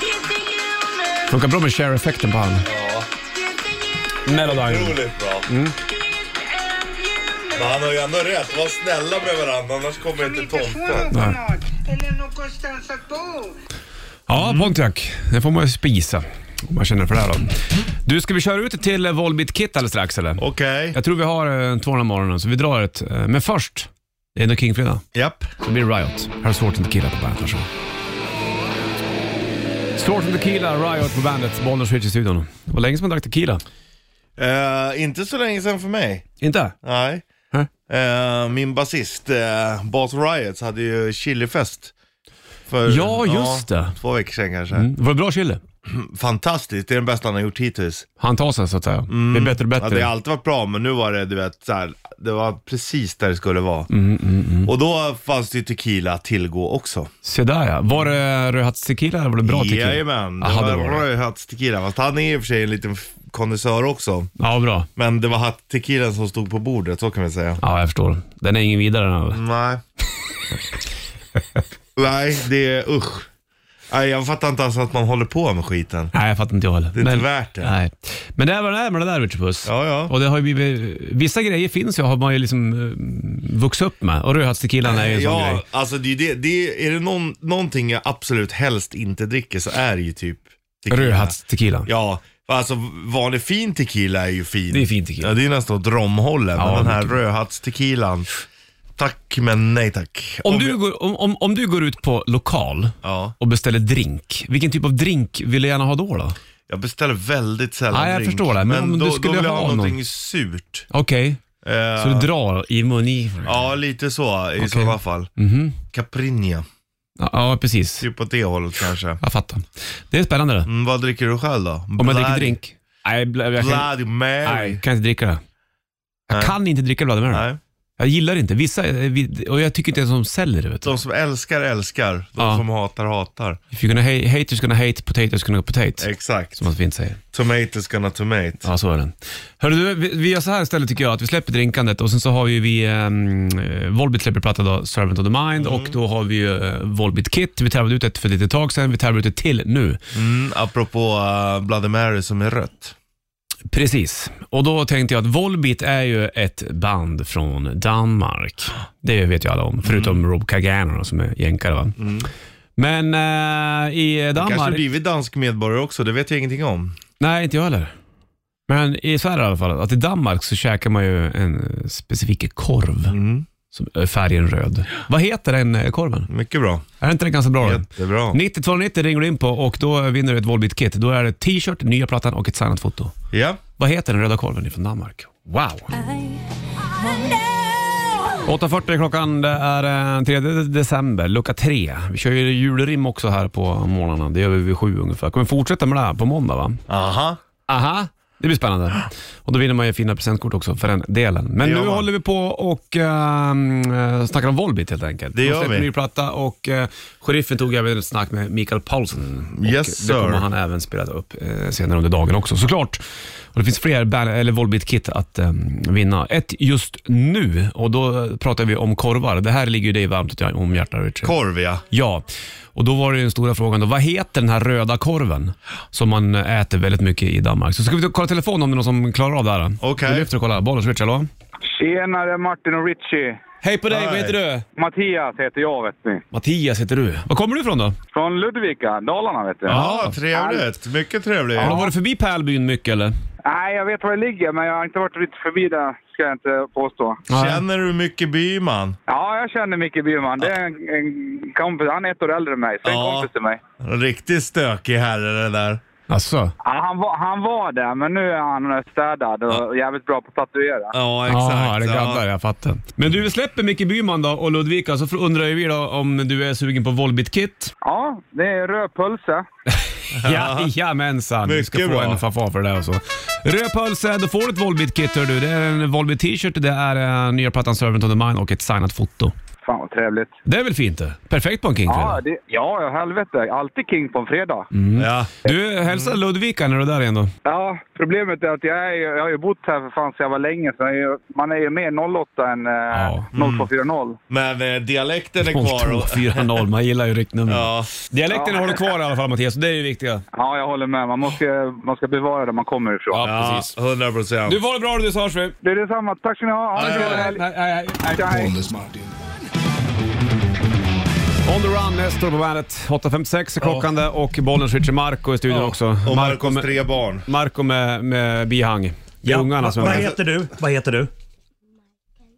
K: Det är jul nu,
C: Funkar bra med share-effekten på han. Melodyne.
B: Otroligt bra. Men han har ju ändå rätt. Var snälla med varandra, annars kommer inte
K: inte få
B: tomten.
K: någon mat eller någonstans att bo.
C: Ja, Pontiac. Den får man ju spisa. Om man känner för det här då. Du, ska vi köra ut till eh, Volbeat Kit alldeles strax eller?
B: Okej.
C: Jag tror vi har eh, två den morgonen så vi drar ett. eh, Men först, det är ändå Kingfredag.
B: Japp.
C: Så blir det Riot. Här är Sword and Tequila på bandet. Varsågod. Sword and Tequila, Riot på bandet. Bollnäs Switch i studion. Det var länge som man drack tequila.
B: Eh, inte så länge sedan för mig.
C: Inte?
B: Nej. Eh, min basist, eh, Bas Riots, hade ju chilifest. För,
C: Ja, just det.
B: Två veckor sedan kanske.
C: Mm. Var det bra chili?
B: Fantastiskt, det är den bästa han har gjort hittills.
C: Han tar sig så att säga. Det är bättre och
B: Mm. Ja,
C: bättre.
B: det har alltid varit bra, men nu var det, du vet, så här, det var precis där det skulle vara.
C: Mm,
B: Och då fanns det ju tequila att tillgå också.
C: Se där ja. Var det rödhattstequila eller var det bra tequila?
B: Jajamän, det
C: Aha, det
B: var
C: var det.
B: rödhatt tequila. Fast han är i och för sig en liten f- kondensör också.
C: Ja, bra.
B: Men det var hatt tequilan som stod på bordet, så kan vi säga.
C: Ja, jag förstår. Den är ingen vidare. Den här.
B: Nej. Nej, det är usch. Nej, jag fattar inte ens att man håller på med skiten.
C: Nej, jag fattar inte jag heller.
B: Det är inte värt det.
C: Nej. Men det är vad det är med det där, Richard Puss.
B: Ja, ja.
C: Och det har ju blivit, vissa grejer finns ju, har man ju liksom eh, vuxit upp med. Och rödhattstequilan är ju en sån
B: Ja,
C: grej.
B: alltså det är, ju det, det är, är det någon, någonting jag absolut helst inte dricker så är det ju typ tequila.
C: Rödhattstequilan.
B: Ja, alltså vanlig fin tequila är ju fin.
C: Det är fin tequila.
B: Ja, det är nästan åt romhållen.
C: Ja,
B: men den här
C: mycket.
B: rödhattstequilan. Tack men nej tack.
C: Om
B: Och-
C: du, går, om, om, om du går ut på lokal
B: Ja,
C: och beställer drink, vilken typ av drink vill du gärna ha då? då?
B: jag beställer väldigt sällan
C: Ja, jag
B: drink.
C: förstår det. Men om
B: då,
C: du skulle
B: då vill jag
C: ha
B: ha någonting
C: någon-
B: surt.
C: Okej,
B: Eh,
C: så du drar i mungivorna?
B: Ja, lite så i
C: Okej.
B: sådana fall.
C: Mhm.
B: Caprinia,
C: Ja, ja, precis.
B: typ åt det hållet kanske.
C: Jag fattar. Det är spännande det.
B: Mm, vad dricker du själv då? Om
C: Om jag dricker drink? Nej, bla- jag kan,
B: Bloody Mary.
C: nej, kan inte dricka det. Jag
B: Nej.
C: kan inte dricka Bloody Mary.
B: Nej.
C: Jag gillar inte, vissa, eh, vi- och jag tycker inte ens de säljer det. Vet du.
B: De som älskar älskar, de
C: Ja.
B: som hatar hatar.
C: If you're gonna hate, hate is gonna hate, potato is gonna potato.
B: Exakt.
C: Som man fint säger.
B: Tomatoes gonna tomate.
C: Ja, så är den. Hörru du, vi, vi gör så här istället tycker jag, att vi släpper drinkandet och sen så har ju vi, ehm, eh, Volbit släpper platta då, Servant of the Mind
B: Mm.
C: och då har vi ju eh, Volbit Kit. Vi tävlade ut ett för ett litet tag sedan, vi tävlar ut ett till nu.
B: Mm, apropå eh, Bloody Mary som är rött.
C: Precis, och då tänkte jag att Volbit är ju ett band från Danmark. Det vet ju alla om, förutom Rob Kagano då, som är jänkare va. Men eh, i
B: Kanske har
C: Danmark...
B: blivit dansk medborgare också, det vet jag ingenting om.
C: Nej, inte jag heller. Men i Sverige i alla fall, att i Danmark så käkar man ju en eh, specifik korv. Som är färgen röd. Vad heter den eh, korven?
B: Mycket bra.
C: Är inte den ganska bra? då?
B: Jättebra.
C: 9290 ringer du in på och då vinner du ett Volbeat-kit. Då är det t-shirt, nya plattan och ett signat foto.
B: Ja.
C: Vad heter den röda korven från Danmark? Wow! 8.40 är klockan, det är eh, 3 december, lucka 3. Vi kör ju julrim också här på morgnarna, det gör vi vid sju ungefär. Kommer fortsätta med det här på måndag va?
B: Aha.
C: Aha, det blir spännande. Och då vinner man ju fina presentkort också för den delen. Men
B: Det
C: nu
B: gör man.
C: håller vi på och um, snackar om Volbeat helt enkelt.
B: Det
C: De
B: gör
C: släppte
B: vi.
C: ny platta och eh, Sheriffen tog även ett snack med Mikael Paulsen. Och
B: Mm. Yes,
C: det
B: sir.
C: kommer han även spela upp eh, senare under dagen också såklart. Och det finns fler band, eller Volbeat-kit att eh, vinna. Ett just nu och då pratar vi om korvar. Det här ligger ju dig varmt om hjärtat Richard.
B: Korv ja.
C: Ja, och då var det ju den stora frågan då, vad heter den här röda korven som man äter väldigt mycket i Danmark? Så ska vi ta- kolla telefonen om det är någon som klarar av det här. Okej. Vi lyfter och kollar. Bollens Rich, hallå?
I: Tjenare Martin och Richie.
C: Hej på dig, vad heter du?
I: Mattias heter jag vet ni.
C: Mattias heter du. Var kommer du ifrån då?
I: Från Ludvika, Dalarna vet du.
B: Ja, trevligt. Mycket trevligt.
C: Har du varit förbi Pärlbyn mycket eller?
I: Nej, jag vet var det ligger men jag har inte varit riktigt förbi där ska jag inte påstå.
B: Känner du mycket Byman?
I: Ja, jag känner Micke Bjurman. Det är en, en kompis. Han är ett år äldre än mig, så en kompis till mig.
B: Riktigt stökig herre det där.
C: Alltså.
I: Ja, han, var, han var där, men nu är han städad och jävligt bra på att tatuera.
B: Ja,
C: Ja, det gaddar, jag fattar. Men du, vi släpper Micke Byman då och Ludvika, så undrar ju vi då om du är sugen på Volbit-kit?
I: Ja, det är röd pulse.
C: Ja, jajamensan. Du ska
I: Mycket
C: få
I: bra.
C: en fanfar för det där och så. Röd pölse, då får du ett Volbit-kit hör du. Det är en Volbit-t-shirt, det är eh, nya plattan Servant of the Mind och ett signat foto.
I: Fan vad trevligt.
C: Det är väl fint det? Perfekt på en
I: Ja,
C: kingfredag.
I: det, ja, ja, helvete. Alltid king på en fredag.
C: Mm. Du, hälsa Ludvika när du är där igen då.
I: Ja, problemet är att jag, är, ju- jag har ju bott här för fan så jag var länge, så jag är ju, man är ju mer 08 än eh, 0240.
B: Men eh, dialekten är kvar. och-
C: 4-0, man gillar ju riktnummer. Dialekten
I: Ja.
C: har du kvar i alla fall Mattias, det är det viktiga.
I: Ja, jag håller med. Man, måste, man ska bevara där man kommer ifrån.
C: Ja, precis.
B: 100 procent.
C: Du, var det bra du, så hörs vi.
I: Det är detsamma. Tack ska ni ha. Ha en trevlig helg.
C: On the run, Nestor på bandet. 8.56 är klockan där och bollen switchar Marco i studion också.
B: Och
C: Marco
B: Marcos
C: med-
B: tre barn.
C: Marco med, med bihang. Ja. Ungarna som
K: vad
C: är med.
K: heter du? Vad heter du?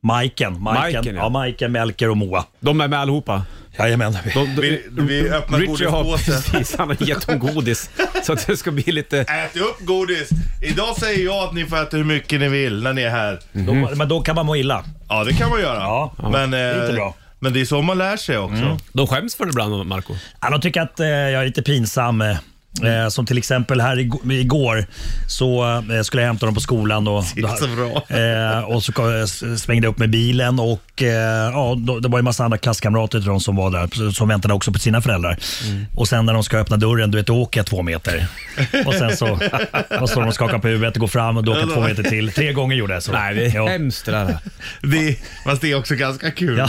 K: Majken.
C: Majken,
K: Majken,
C: ja.
K: ja. Majken, Melker och Moa.
C: De är med allihopa?
K: Jajamän.
C: De, de,
B: Vi, vi öppnar
C: Richie har
B: godispåsen.
C: precis, han har gett dem godis. Så att det ska bli lite...
B: Ät upp godis. Idag säger jag att ni får äta hur mycket ni vill när ni är här.
K: Då, men då kan man må illa.
B: Ja, det kan man göra.
K: Ja,
B: Men, eh,
K: det är inte bra. Mm.
B: men det är så man lär sig också.
C: De skäms för det ibland, Marco.
K: Ja, de tycker att eh, jag är lite pinsam. Eh, eh, som till exempel här ig- igår så eh, skulle jag hämta dem på skolan. Och,
B: Det är så bra.
K: Eh, och så kom- s- svängde jag upp med bilen och eh, ja, då, det var ju massa andra klasskamrater till dem som var där, som väntade också på sina föräldrar. Och sen när de ska öppna dörren, du vet, då åker jag två meter. Och sen så, och så de och skakar på huvudet och går fram och då åker jag två meter till. Tre gånger gjorde jag så.
C: Nej, det är
K: Ja.
C: hemskt det där.
B: Det, fast det är också ganska kul.
K: Ja,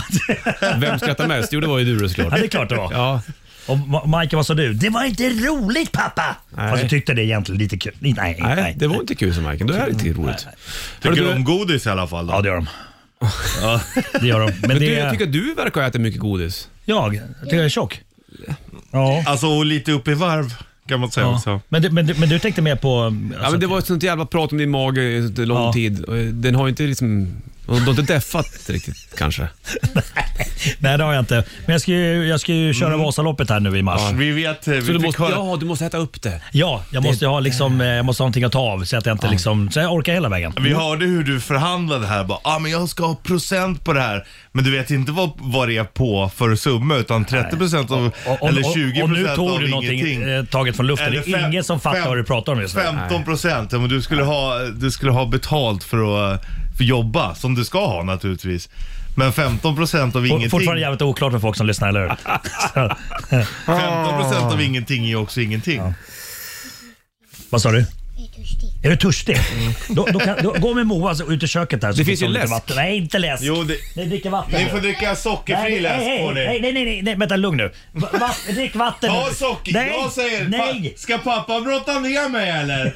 C: Vem skrattar mest? Jo, det var ju du såklart.
K: Ja, det är klart det var.
C: Ja.
K: Och Ma- Michael, vad sa du? Det var inte roligt pappa!
C: Nej.
K: Fast du tyckte det egentligen lite kul. Nej, nej.
C: Nej, det var inte kul som Marco. Det här är inte roligt.
B: Tycker
C: Hörru,
B: du
C: du-
B: om godis i alla fall? Då?
K: Ja, det gör de. Det gör de. Men
C: Men du, jag
K: det...
C: tycker att du verkar ha ätit mycket godis.
K: Jag? Jag tycker jag är tjock? Ja.
B: Alltså, och lite upp i varv kan man säga också.
K: Men, du, men, du, men du tänkte mer på...
C: Ja,
K: Alltså,
C: men det var ett sånt jävla prat om din mage i så lång
K: Ja.
C: tid. Och eh, Den har ju inte liksom... De har inte deffat riktigt kanske.
K: Nej, det har jag inte. Men jag ska ju, jag ska ju köra Vasaloppet här nu i mars.
B: Vi vet, eh, vi
C: Så du
B: fick
C: måste,
B: höra-
C: ja, du måste äta upp det.
K: Ja, jag måste, ju ha, liksom, eh, jag måste ha någonting att ta av så att jag inte liksom... Så jag orkar hela vägen.
B: Vi hörde hur du förhandlade här. Bara, ah, men jag ska ha procent på det här. Men du vet inte vad, vad det är på för summa utan 30 procent av,
K: Och, och,
B: eller 20
K: och, och nu
B: procent
K: tog
B: av
K: du någonting
B: ingenting.
K: eh, taget från luften.
B: Eller
K: det är
B: fem-
K: ingen som fattar
B: fem-
K: vad du pratar om just nu.
B: 15 procent. Ja, men du skulle ha, du skulle ha betalt för att, jobba, som du ska ha naturligtvis. Men 15 procent av ingenting.
J: Fortfarande jävligt oklart för folk som lyssnar, eller hur? Så-
B: 15 procent
K: Ah.
B: av ingenting är också ingenting.
J: Vad sa du? Är du törstig? Då, då kan, då, gå med Moa
H: alltså,
J: så, ut i köket där. Så
B: Det finns
J: får
B: ju
J: du lite
B: läsk.
J: Vatten. Nej, inte läsk.
B: Jo, det-
J: Nej, dricka vatten.
B: Ni får dricka sockerfri
J: Nej, nej,
B: läsk
J: nej,
B: får ni.
J: Nej, nej, nej, nej, nej, vänta, lugn nu. Va, va, drick vatten.
B: Ta socker,
J: Nej,
B: jag säger. pa-
J: Nej,
B: Ska pappa brotta ner mig eller?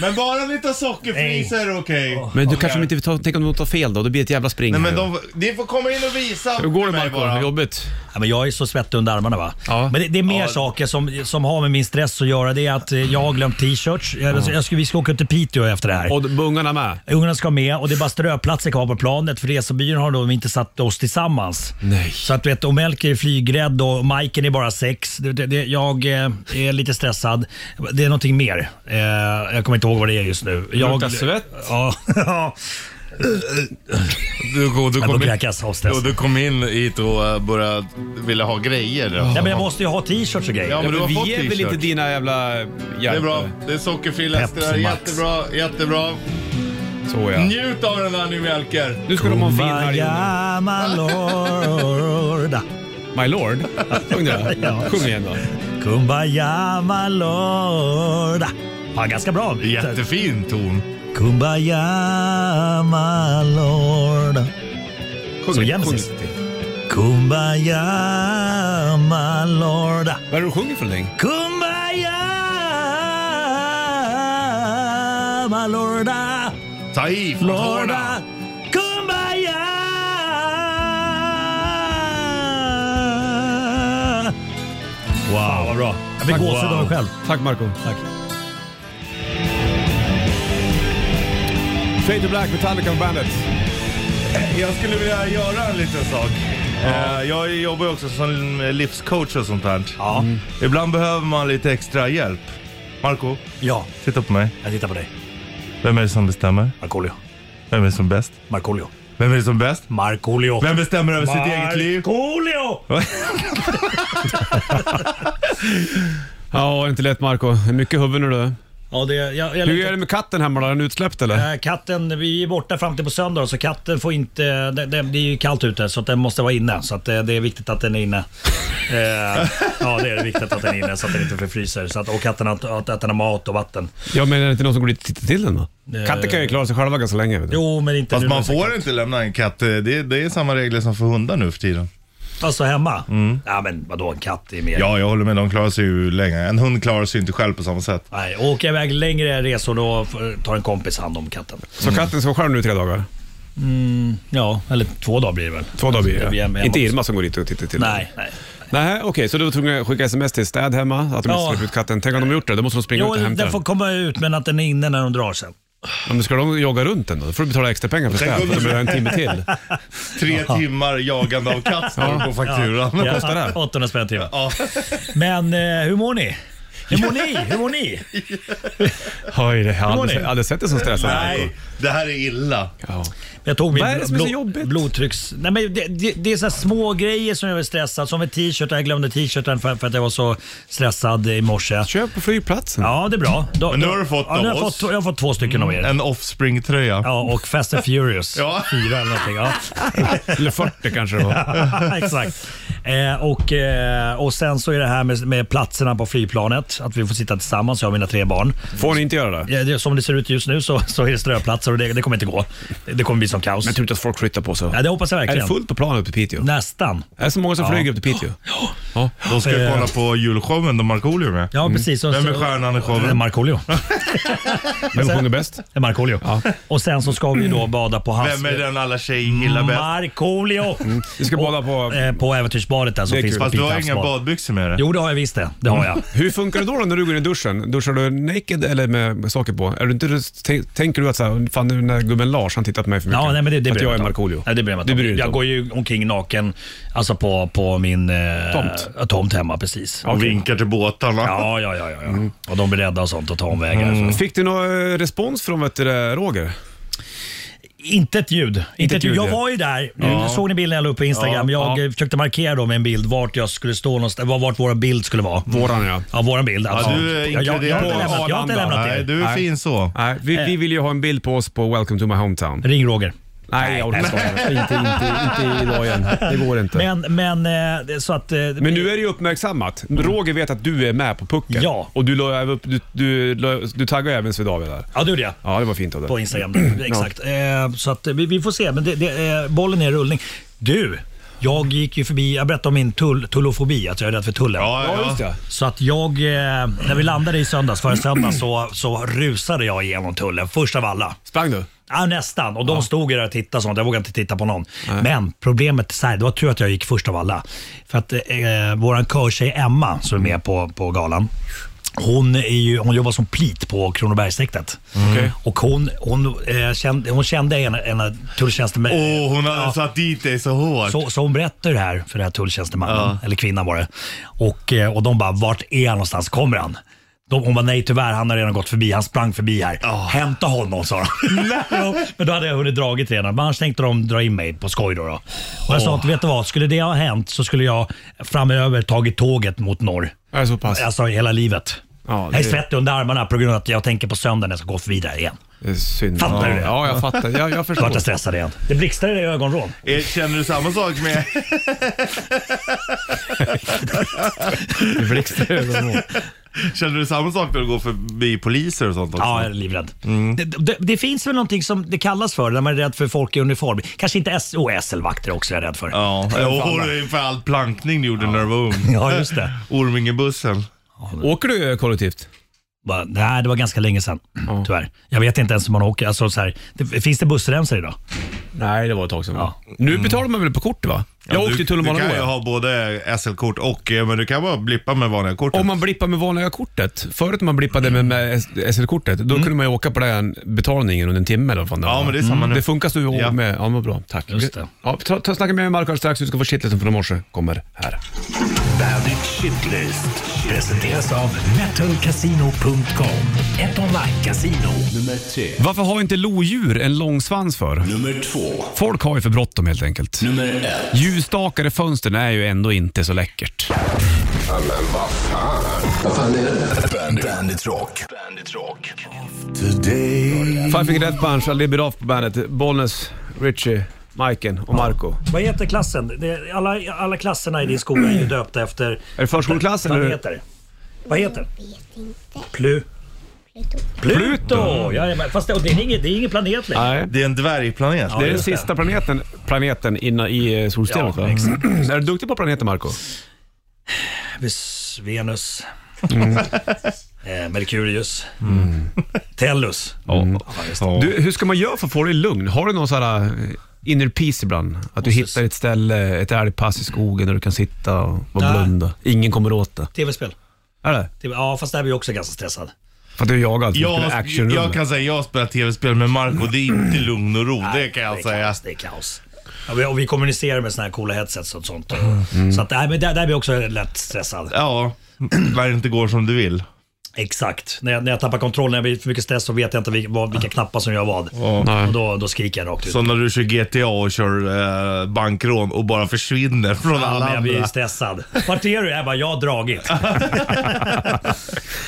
B: Men bara lite sockerfri
C: Nej.
B: så är det okej.
C: Men du kanske inte vill ta, tänk om de tar fel då? Det blir ett jävla spring.
B: Nej men
C: här.
B: de, ni får komma in och visa. mig bara.
C: Jobbigt.
J: Ja, men jag är så svettig under armarna va? Men det, det är mer saker som, som har med min stress att göra. Det är att eh, jag har glömt t-shirts. Jag, jag ska, vi ska åka till Piteå efter det här.
C: Och ungarna med?
J: Ungarna ska med och det är bara ströplatser kvar på planet för resebyrån har de inte satt oss tillsammans.
C: Nej.
J: Så att du vet, och Melker är flygrädd och Majken är bara sex. Det, det, det, jag eh, är lite stressad. Det är någonting mer. Eh, jag kommer inte ihåg vad det är just nu.
C: Luktar
J: Jag,
C: svett?
J: Ja.
B: Du, du,
J: Jag
B: kom
J: börjar
B: in-
J: kräkas av stress.
B: Jo, du kom in hit och eh, började vilja ha grejer.
J: Nej, men jag måste ju ha t-shirts och grejer.
B: Ja, men du har
C: vi
B: fått
C: är väl
B: t-shirt.
C: inte dina jävla hjältar?
B: Det är bra. Det är sockerfri läsk det där.
C: Pepsi Max.
B: Jättebra, jättebra.
C: Så ja.
B: Njut av den där nu Melker.
C: Nu ska de ha en fin helg.
J: Kumbaya, my lord.
C: My lord? Sjung det.
J: Ja.
C: Sjung igen då.
J: Kumbaya, my lord. Ja, ganska bra.
B: Jättefin ton.
J: Kumbaya, my lord.
C: Sjung
J: Så
C: det,
J: Genesis.
C: sjung det.
J: Kumbaya, my lord.
C: Vad är det du sjunger för någonting?
J: Kumbaya, my lord.
B: Ta i från
J: Lord.
B: tårna.
J: Kumbaya. Wow, vad bra. Jag fick
C: Tack.
J: gåshud av mig själv.
C: Tack Marco.
J: Tack.
C: Fade to Black, Metallica på bandet.
B: Jag skulle vilja göra en liten sak. Eh, Jag jobbar ju också som livscoach och sånt här.
J: Mm.
B: Ibland behöver man lite extra hjälp. Marco,
J: Ja,
B: titta på mig.
J: jag tittar på dig.
B: Vem är det som bestämmer?
J: Markoolio.
B: Vem är det som bäst?
J: Markoolio.
B: Vem är det som bäst?
J: Markoolio.
B: Vem bestämmer över sitt eget liv?
J: Markoolio!
C: Ja, det är inte lätt Marco. Det är Mycket huvud nu du.
J: Ja, det, jag, jag,
C: Hur är det med katten hemma då? Är den utsläppt eller?
J: Eh, Katten, vi är borta fram till på söndag så katten får inte, det, det, det är ju kallt ute så att den måste vara inne. Så att eh, det är viktigt att den är inne. Eh, ja det är viktigt att den är inne så att den inte förfryser. Så att, och katten att, att, att den har mat och vatten.
C: Ja, men är det inte någon som går dit och tittar till den då?
J: Eh.
C: Katter kan ju klara sig själva ganska länge. Vet du.
J: Jo men inte
B: Fast
J: nu.
B: man får inte lämna en katt. Eh, Det är, det är samma regler som för hundar nu för tiden.
J: Alltså hemma? Ja men vadå en katt är mer.
B: Ja, jag håller med. De klarar sig ju länge. En hund klarar sig ju inte själv på samma sätt.
J: Nej, åker jag iväg längre resor då får- tar en kompis hand om katten.
C: Så katten ska vara själv nu i tre dagar?
J: Mm, ja, eller två dagar blir det väl.
C: Två dagar blir
J: hemma
C: det.
J: hos-
C: Inte Irma som går dit och tittar till den.
J: Nej, nej.
C: Nej, okej, så du var tvungen att skicka sms till städ hemma att de inte
J: Ja.
C: släpper ut katten. Tänk om de har gjort det, då måste de springa
J: Jo,
C: ut och hämta
J: den
C: den.
J: får komma ut men att den är inne när de drar sen.
C: Ja, men ska de jogga runt den då? Då får du betala extra pengar för städ, för att de behöver en timme till.
B: Tre timmar jagande av katt står det på fakturan.
J: Ja,
C: Vad kostar det?
J: 800 spänn timmen.
B: Ja.
J: Men eh, hur mår ni? Hur mår ni? Hur mår ni?
C: Oj, det har jag
J: Hur mår
C: aldrig,
J: ni?
C: aldrig sett det som stressande.
B: Nej, det här är illa.
C: Ja.
J: Jag tog min
C: Vad är det som är så
J: blod-
C: jobbigt?
J: blodtrycks... Nej, men det, det, det är så här små grejer som jag är stressad Som en t-shirt. Jag glömde t-shirten för, för att jag var så stressad i morse.
C: Köp på flygplatsen.
J: Ja, det är bra. Då-
B: Men nu
J: då-
B: har du fått
J: ja, nu
B: av
J: har jag
B: oss.
J: fått, jag har fått två stycken av er.
B: En offspring-tröja.
J: Ja, och Fast and Furious.
B: Ja.
J: Fyra eller någonting. Ja.
C: Eller 40 kanske det var.
J: Exakt. Eh, och, eh, och sen så är det här med, med platserna på flygplanet. Att vi får sitta tillsammans, jag och mina tre barn.
C: Får ni inte göra det?
J: Ja, det, som det ser ut just nu så, så är det ströplatser och det, det kommer inte gå. Det, det kommer bli som kaos.
C: Men tror inte att folk flyttar på sig?
J: Ja, det hoppas jag
C: Är
J: verkligen.
C: det fullt på planet upp till Piteå?
J: Nästan.
C: Är det så många som flyger upp till Piteå? Ja.
B: Då ska vi kolla på julshowen då Markoolio är med.
J: Eh. Ja, precis. Och
B: Vem är
J: så-
B: stjärnan i
J: Mm. Det är
B: showen?
J: Markoolio.
C: Vem sjunger bäst?
J: Det är Markoolio. Och sen så ska vi då bada på hans...
B: Vem är den alla tjejer gillar bäst?
J: Markoolio!
C: Mm. Vi ska bada
J: Och,
C: på...
J: eh, på äventyrsbadet där som
C: Det är
J: finns
C: kul.
J: på
B: Fast du har
J: Piteå
B: inga
J: havsbad.
B: badbyxor med dig.
J: Jo, det har jag visst det. Det har jag.
C: Hur funkar det då, då när du går in i duschen? Duschar du naked eller med saker på? Är du inte, t- tänker du att så här, fan nu när gubben Lars han tittar på mig för mycket?
J: Ja, nej, men det, det
C: att
J: bryr
C: jag
J: jag
C: är
J: mig inte om.
C: Markoolio?
J: Nej, det bryr jag mig
C: Du bryr dig inte
J: inte om.
C: om.
J: Jag går ju omkring naken alltså på, på min eh,
C: Tomt.
J: ja, tomt hemma. Precis.
B: Och vinkar till båtarna.
J: Ja, ja, ja. ja, ja.
C: Mm.
J: Och Mm. de blir rädda och sånt och tar omvägar. Så.
C: Fick du någon eh, respons från vet du, det, Roger?
J: Inte ett ljud. Inte ett ljud. Jag var ju där.
C: Ja.
J: Såg ni bilden jag la upp på Instagram?
C: Ja,
J: jag
C: ja.
J: eh, försökte markera då med en bild vart jag skulle stå någonstans, var- vart vår bild skulle vara.
C: Våran ja.
J: Ja, våran bild.
C: Ja,
J: absolut.
C: du är
J: jag, jag, jag har inte
C: inkluderad.
J: lämnat, jag har inte lämnat det.
B: så.
C: Nej, vi,
J: Eh.
C: vi vill ju ha en bild på oss på Welcome to my hometown.
J: Ring Roger.
C: Nej, jag orkar inte. Inte, inte, inte idag igen. Det går inte.
J: Men, men eh, det- så att... eh,
C: Men nu är det ju uppmärksammat. Roger vet att du är med på pucken.
J: Ja.
C: Och du, la, även upp- du, du, la- du taggade även Swedavia där.
J: Ja, det gjorde jag.
C: Ja, det var fint av dig.
J: På Instagram. där. Exakt. Eh, så att eh, vi, vi får se. Men det, det, eh, bollen är i rullning. Du, jag gick ju förbi, jag berättade om min tull, tullofobi, att jag är rädd för tullen.
C: Ja, ja. Ja, just det.
J: Så att jag, eh, när vi landade i söndags, förra söndagen, så, så rusade jag igenom tullen. Först av alla.
C: Sprang du?
J: Ja, nästan. Och de stod ju där och tittade och sånt. Jag vågade inte titta på någon. Men problemet, så här, det var tur att jag gick först av alla. För att eh, vår körtjej Emma, som är med på, på galan, hon, är ju, hon jobbar som plit på Kronobergshäktet.
B: Okej.
J: Och hon, hon, eh, kände, hon kände en, en tulltjänsteman.
B: Åh, hon hade satt dit dig så hårt.
J: Så, så hon berättade det här för den här tulltjänstemannen, eller kvinnan var det. Och, eh, och de bara, vart är han någonstans? Kommer han? De, hon bara, nej tyvärr, han har redan gått förbi. Han sprang förbi här. Hämta honom, sa de. Jo, Men då hade jag hunnit dragit redan. Men annars tänkte de dra in mig på skoj då. då. Och jag sa
C: Åh.
J: att, vet du vad? Skulle det ha hänt så skulle jag framöver tagit tåget mot norr.
C: Ja, så pass.
J: Alltså hela livet.
C: Ja,
J: Jag är
C: det-
J: svettig under armarna på grund av att jag tänker på söndagen när jag ska gå förbi där igen.
C: Det är synd. ja.
J: Fattar du det?
C: Ja, jag fattar. Jag, jag förstår.
J: Vart jag stressad igen. Det blixtrade i ögonvrån.
B: Eh, Känner du samma sak med...
C: Det blixtrar i ögonvrån.
B: Känner du samma sak när du går förbi poliser och sånt också?
J: Ja, jag är livrädd. Det, det, det finns väl någonting som det kallas för när man är rädd för folk i uniform. Kanske inte S och SL-vakter också är jag rädd för.
B: Ja, och för all plankning du gjorde när du var ung.
J: Ja, just det.
B: Ormingebussen.
C: Åker du kollektivt?
J: Bara, nej, det var ganska länge sedan. Tyvärr. Jag vet inte ens hur man åker. Alltså, så här, det, finns det bussremsor idag?
C: Nej, det var ett tag sedan. Nu betalar man väl på kort va? Jag åkte till
B: Du
C: Tullomana
B: kan ju
C: då.
B: ha både SL-kort och, eh, men du kan bara blippa med vanliga kortet.
C: Om man blippar med vanliga kortet. Förut när man blippade med, med S- SL-kortet, då kunde man ju åka på den betalningen under en timme. Eller vad fan det
B: Ja,
C: var.
B: men det är samma
J: Mm.
B: nu.
C: Det funkar så
B: Ja.
C: ja. med. Ja, men bra. Tack.
J: Just det.
C: Ja, ta, ta snacka med Marko alldeles strax. Du ska få shitlisten från i morse. Kommer här.
L: Bandit Shitlist presenteras av metalcasino.com. Ett online-casino. Nummer tre.
C: Varför har inte lodjur en långsvans för?
L: Nummer två.
C: Folk har ju för bråttom helt enkelt.
L: Nummer ett.
C: Ljusstakar i fönstren är ju ändå inte så läckert.
L: Ja, men vad fan. Vad fan är det? Bandit, Bandit Rock. Bandit Rock.
C: Five Finger Death Punch, A Little Bit Off på bandet. Bollnäs, Richie, Majken och Marco.
J: Vad heter klassen? Det, alla, alla klasserna i din skola är ju döpta efter...
C: Är det förskoleklass
J: Vad
C: eller?
J: heter det? Vad heter Plu... Pluto. Pluto! Jajamän. Fast det, och det, är ingen, det är ingen planet längre.
C: Nej.
B: Det är en dvärgplanet.
C: det är den sista planeten, planeten inna, i eh, solsystemet
J: Ja,
C: va?
J: exakt.
C: är du duktig på planeter Marco?
J: Vis- Venus. eh, Merkurius. Tellus.
C: Mm.
J: Ja, just det.
C: Du, hur ska man göra för att få dig lugn? Har du någon sån här eh, inner peace ibland? Att du hittar ett ställe, ett älgpass i skogen där du kan sitta och vara
J: Nej.
C: blunda. Ingen kommer åt det.
J: Tv-spel.
C: Är det?
J: TV ja, fast där är vi också ganska stressad.
C: För att du är jagad? för att
J: alltså,
C: du spelar
B: Jag,
C: actionrulle.
B: jag kan säga jag spelar tv-spel med Marco. Det är inte lugn och ro, det kan jag
J: det är
B: säga.
J: Kaos, det är kaos. Ja, vi, och vi kommunicerar med såna här coola headsets och sånt. Så att, nej, men där, där är vi också lätt stressad.
B: Ja, när det inte går som du vill.
J: Exakt. När jag, när jag tappar kontrollen, när jag blir för mycket stress så vet jag inte vilka, vad- vilka knappar som gör vad.
B: Nej.
J: Och då, då skriker jag rakt ut.
B: Så när du kör GTA och kör eh, bankrån och bara försvinner från
J: Ja,
B: alla
J: men jag blir ju
B: andra.
J: stressad. Vart är du? Jag bara, jag har dragit.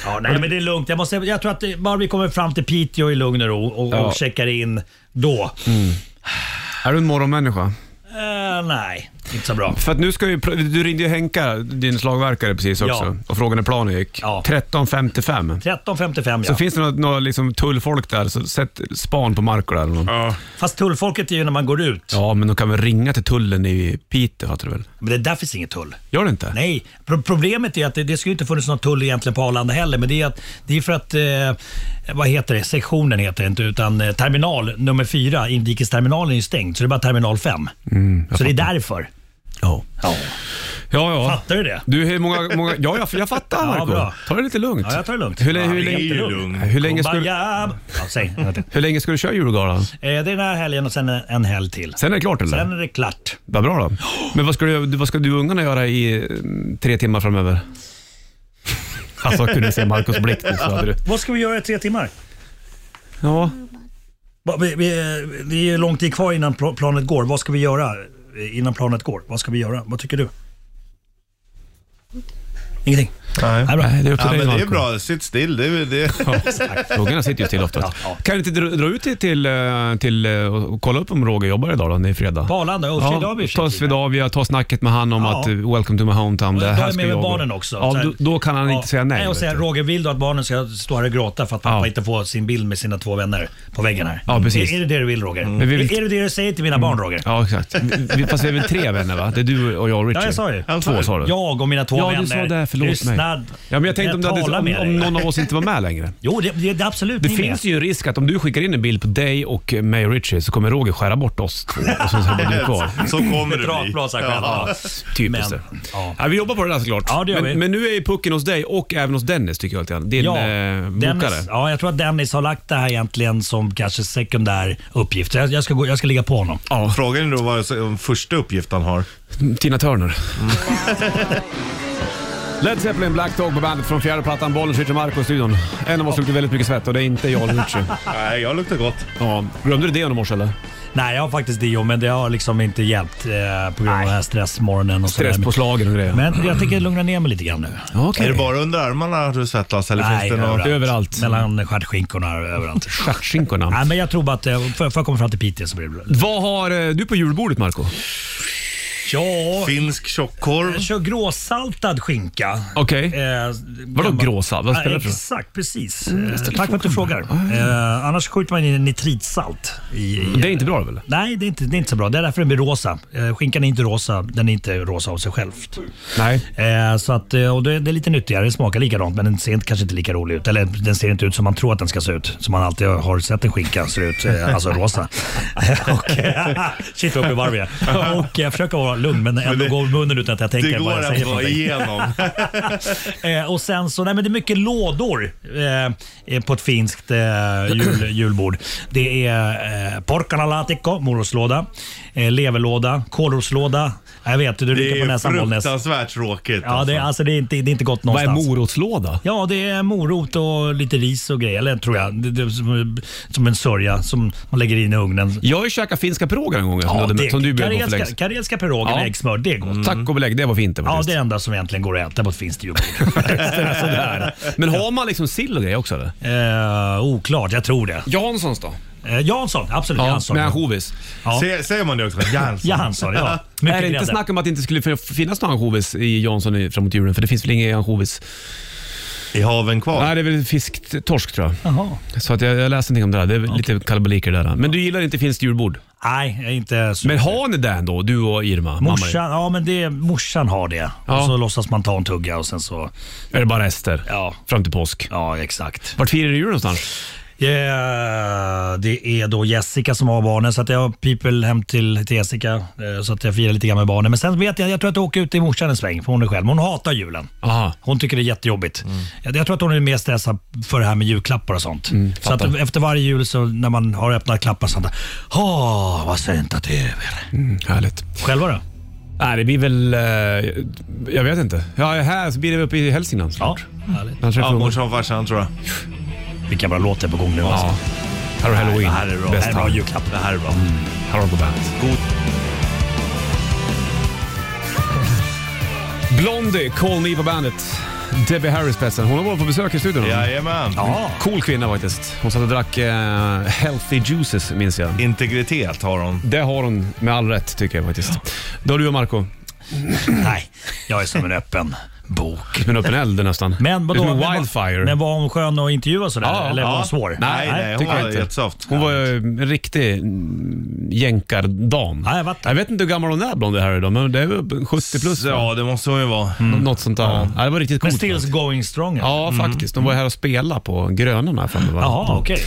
J: ja, nej, men det är lugnt. Jag, måste, jag tror att det, bara vi kommer fram till Piteå i lugn och ro och,
C: Ja. Mm.
J: och checkar in då.
C: Är du en morgonmänniska?
J: Eh, nej, inte så bra.
C: För att nu ska ju, du ringde ju Henka, din slagverkare precis också,
J: Ja.
C: och frågade när planen gick. 13.55.
J: 13.55
C: Så
J: ja.
C: finns det några, några liksom tullfolk där, så sätt span på Marco där. eller något.
J: Fast tullfolket är ju när man går ut.
C: Ja, men de kan väl ringa till tullen i Piteå, fattar du väl?
J: Men det där finns inget tull.
C: Gör det inte?
J: Nej, pro- problemet är att det, det skulle inte funnits någon tull egentligen på Arlanda heller. Men det är, att, det är för att, eh, vad heter det, sektionen heter det inte, utan eh, terminal nummer fyra, inrikesterminalen är ju stängd. Så det är bara terminal fem. så det är därför.
C: Mm, Ja.
J: ja.
C: Ja, ja.
J: Fattar du det?
C: Du, hur många, många, ja, jag, jag fattar
J: Ja,
C: Marco.
J: bra.
C: Ta det lite lugnt.
J: Ja, jag tar det lugnt.
C: Hur, lä-
J: Ja,
C: hur,
J: det är ju
C: länge,
J: lugnt.
C: hur, länge ska, du-
J: Kumbaya. Ja, säg. Eh,
C: hur länge ska du köra julgalan?
J: Den här helgen och sen en en helg till.
C: Sen är det klart eller?
J: Sen är det klart.
C: Vad bra då. Men vad ska, du, vad ska du och ungarna göra i eh, tre timmar framöver? Alltså, kunde du se Marcos blick nu så hade du...
J: Vad ska vi göra i tre timmar?
C: Ja.
J: Va- vi- vi- Det är ju lång tid kvar innan pl- planet går. Vad ska vi göra eh, innan planet går? Vad ska vi göra? Vad tycker du? Ingenting?
B: Nej,
C: bra. Nej, det är upp till
B: ja, men
C: dig,
B: det är
C: Marco.
B: bra. Sitt still. Det, är- det.
C: Frågorna sitter ju still oftast. Kan du inte dra, dra ut till, till, eh, till eh, och kolla upp om Roger jobbar idag då, när det är fredag?
J: På Arlanda? oh, Och Swedavia i och för
C: ta Swedavia, ta snacket med han om
J: Ja.
C: att eh, “Welcome to my hometown”. Det
J: Då är
C: här
J: jag
C: ska
J: med med
C: jag gå.
J: barnen också. Så
C: Ja,
J: här-
C: då, då kan han inte säga nej.
J: Nej, och
C: vet
J: säga
C: du.
J: Roger, vill du att barnen ska stå här och gråta för att pappa inte får sin bild med sina två vänner på väggen här? Mm.
C: Ja, precis.
J: Är, är det det du vill Roger?
C: Mm. Men vi vill- Mm.
J: Är det det du säger till mina barn Roger?
C: Ja, exakt. Vi- Fast vi är väl tre vänner va? Det är du och jag och Richard.
J: Ja, jag sa ju.
C: Två sa du.
J: Jag och mina två
C: ja,
J: vänner.
C: du sa det. Förlåt
J: Lyssnad.
C: mig. Ja, men jag tänkte om, det
J: talar
C: hade,
J: med
C: om, om
J: dig.
C: någon av oss inte var med längre.
J: Jo, det, det, det är absolut
C: Det
J: ni med.
C: finns ju en risk att om du skickar in en bild på dig och eh, mig och Richie så kommer Roger skära bort oss två och sen så är det bara du kvar.
B: Så kommer det
J: Ett
B: bli.
J: rakblad så här själv.
C: Ja,
J: Ja.
C: typiskt det. Ja. vi jobbar på det där såklart.
J: Ja, det gör
C: men,
J: vi.
C: men nu är ju pucken hos dig och även hos Dennis tycker jag lite grann. Din eh, bokare.
J: Dennis, ja, jag tror att Dennis har lagt det här egentligen som kanske sekundär uppgift. Så Jag, jag, ska, gå, jag ska ligga på honom.
B: Frågan är då vad som- första uppgift han har.
C: Tina Turner.
J: Mm.
C: Led Zeppelin Black Dog på bandet från fjärde plattan Bollen Richard Marco i studion. En av oss luktar väldigt mycket svett och det är inte jag eller Richie.
B: Nej, jag luktar gott.
C: Ja. Glömde du det under morse eller?
J: Nej, jag har faktiskt det, men det har liksom inte hjälpt eh, på grund av den här stressmorgonen och sådär.
C: Stresspåslagen och grejer.
J: Men jag tänker lugna ner mig lite grann nu.
C: Okej.
B: Är det bara under armarna du svettas eller
J: Nej,
B: finns det något?
J: överallt. Mellan stjärtskinkorna överallt.
C: Stjärtskinkorna?
J: Nej, men jag tror bara att eh, får får jag komma fram till Piteå så blir det bra.
C: Vad har eh, du på julbordet Marco?
J: Ja,
B: Finsk tjockkorv.
J: jag kör gråsaltad skinka.
C: Okej.
J: Eh,
C: Vadå
J: gammal-
C: gråsalt? Vad spelar
J: Ja,
C: det för roll?
J: Exakt, precis.
C: Mm, jag
J: Eh,
C: ställer
J: Tack för att du frågar. Eh, annars skjuter man in nitritsalt. I, i,
C: Det är inte bra väl?
J: Nej, det är, inte, det är inte så bra. Det är därför den blir rosa. Eh, skinkan är inte rosa. Den är inte rosa av sig själv.
C: Nej.
J: Eh, så att, eh, och det, det är lite nyttigare. Det smakar likadant, men den ser inte, kanske inte lika rolig ut. Eller den ser inte ut som man tror att den ska se ut. Som man alltid har sett en skinka ser ut. Eh, alltså rosa. och, eh, shit, vad uppe i varv igen. Och jag försöker vara lugn, men ändå går munnen utan att jag tänker
B: Det
J: vad
B: går
J: jag säger.
B: att
J: för
B: få
J: någonting.
B: igenom.
J: Eh, och sen så, nej men det är mycket lådor eh, eh, på ett finskt eh, jul, julbord. Det är eh, porcana latikko, morotslåda, eh, leverlåda, kålrotslåda. Jag vet, du rycker
B: Det
J: på
B: är
J: näsan Bollnäs.
B: fruktansvärt tråkigt.
J: Ja, det, är- alltså, det, är inte, det är inte gott
C: Vad är
J: någonstans.
C: morotslåda?
J: Ja, det är morot och lite ris och grejer, eller tror jag. Det, det, är som, som en sörja som man lägger in i ugnen.
C: Jag har ju käkat finska pirogar en gång som du hade- som du bjöd på för
J: karelska,
C: längst.
J: karelska piroger med
C: Ja. Mm,
J: äggsmör, det är gott.
C: Tack och belägg, det var fint det
J: Mm. Ja,
C: faktiskt.
J: det är det enda som egentligen går att äta på ett finskt julbord.
C: Sådär. Men har man liksom sill och grejer också eller?
J: Eh, oklart, jag tror det.
C: Janssons då?
J: Eh, Jansson, absolut.
C: Ja,
J: Jansson.
C: med ansjovis.
J: Ja.
B: Sä- Säger man det också? Jansson.
J: Jansson, ja. Mycket
C: är det inte
J: grädde.
C: snack om att det inte skulle fin- finnas någon ansjovis i Jansson i- framåt julen? För det finns väl ingen ansjovis?
B: I haven kvar.
C: Nej, det är väl fisktorsk tror jag.
J: Jaha.
C: Så att jag, jag läste någonting om det där. Det är väl lite kalabaliker där. Men du gillar inte finskt julbord?
J: Nej, jag är inte så...
C: Men har ni det ändå, du och Irma? mamma din?
J: Morsan, ja, men det, morsan har det.
C: Ja.
J: Och så låtsas man ta en tugga och sen så...
C: Är det bara rester?
J: Ja.
C: Fram till påsk?
J: Ja, exakt.
C: Vart firar du jul någonstans?
J: Eh, det är då Jessica som har barnen, så att jag piper hem till, till Jessica eh, så att jag firar lite grann med barnen. Men sen vet jag, jag tror att jag åker ut till morsan en sväng, för hon är själv. Hon hatar julen.
C: Aha.
J: Hon tycker det är jättejobbigt.
C: Mm.
J: Jag, jag tror att hon är mer stressad för det här med julklappar och sånt. så att
C: Mm, fattar.
J: efter varje jul så när man har öppnat klappar sånt där. Åh, vad sent att det är över.
C: Mm. Härligt.
J: Själva då?
C: Nej, det blir väl... eh, jag vet inte. Ja, här så blir det väl uppe i Hälsingland snart.
J: Härligt.
C: Annars är det
B: Ja,
C: frågan.
B: morsan och farsan tror jag.
J: Vilken bra låt det är på gång nu alltså.
C: Här har Halloween. Mm.
J: Det här är bra. Det här är bra
C: time.
J: julklapp. Det här är bra.
C: Här har de på bandet.
B: God.
C: Blondie, Call Me på bandet. Debbie Harris spetsen. Hon har varit på besök i studion.
B: Jajamän.
J: Ja.
C: Cool kvinna faktiskt. Hon satt och drack eh, healthy juices minns jag.
B: Integritet har hon.
C: Det har hon med all rätt tycker jag faktiskt. Då har du och Marco
J: Nej, jag är som en öppen bok.
C: Men upp en eld nästan.
J: Men vadå?
C: Det är som
J: Men var-
C: wildfire.
J: Men var hon skön att intervjua sådär?
C: Ja,
J: Eller var
C: ja.
J: hon svår?
C: Nej,
B: Nej,
C: nej,
B: hon
C: tycker jag
B: var
C: inte.
B: jättesoft.
C: Hon var ju en riktig mm, jänkardam.
J: Ja, jag fattar.
C: Jag vet inte hur gammal hon är Blondie Harry då, men det är väl 70 plus va?
B: Ja, det måste hon ju vara.
C: Nå- Något sånt där. Ja. det var riktigt
J: Mm. Men
C: coolt.
J: still going strong.
C: Ja, faktiskt. De var här och spelade på Grönan här framme. va?
J: Jaha, okej.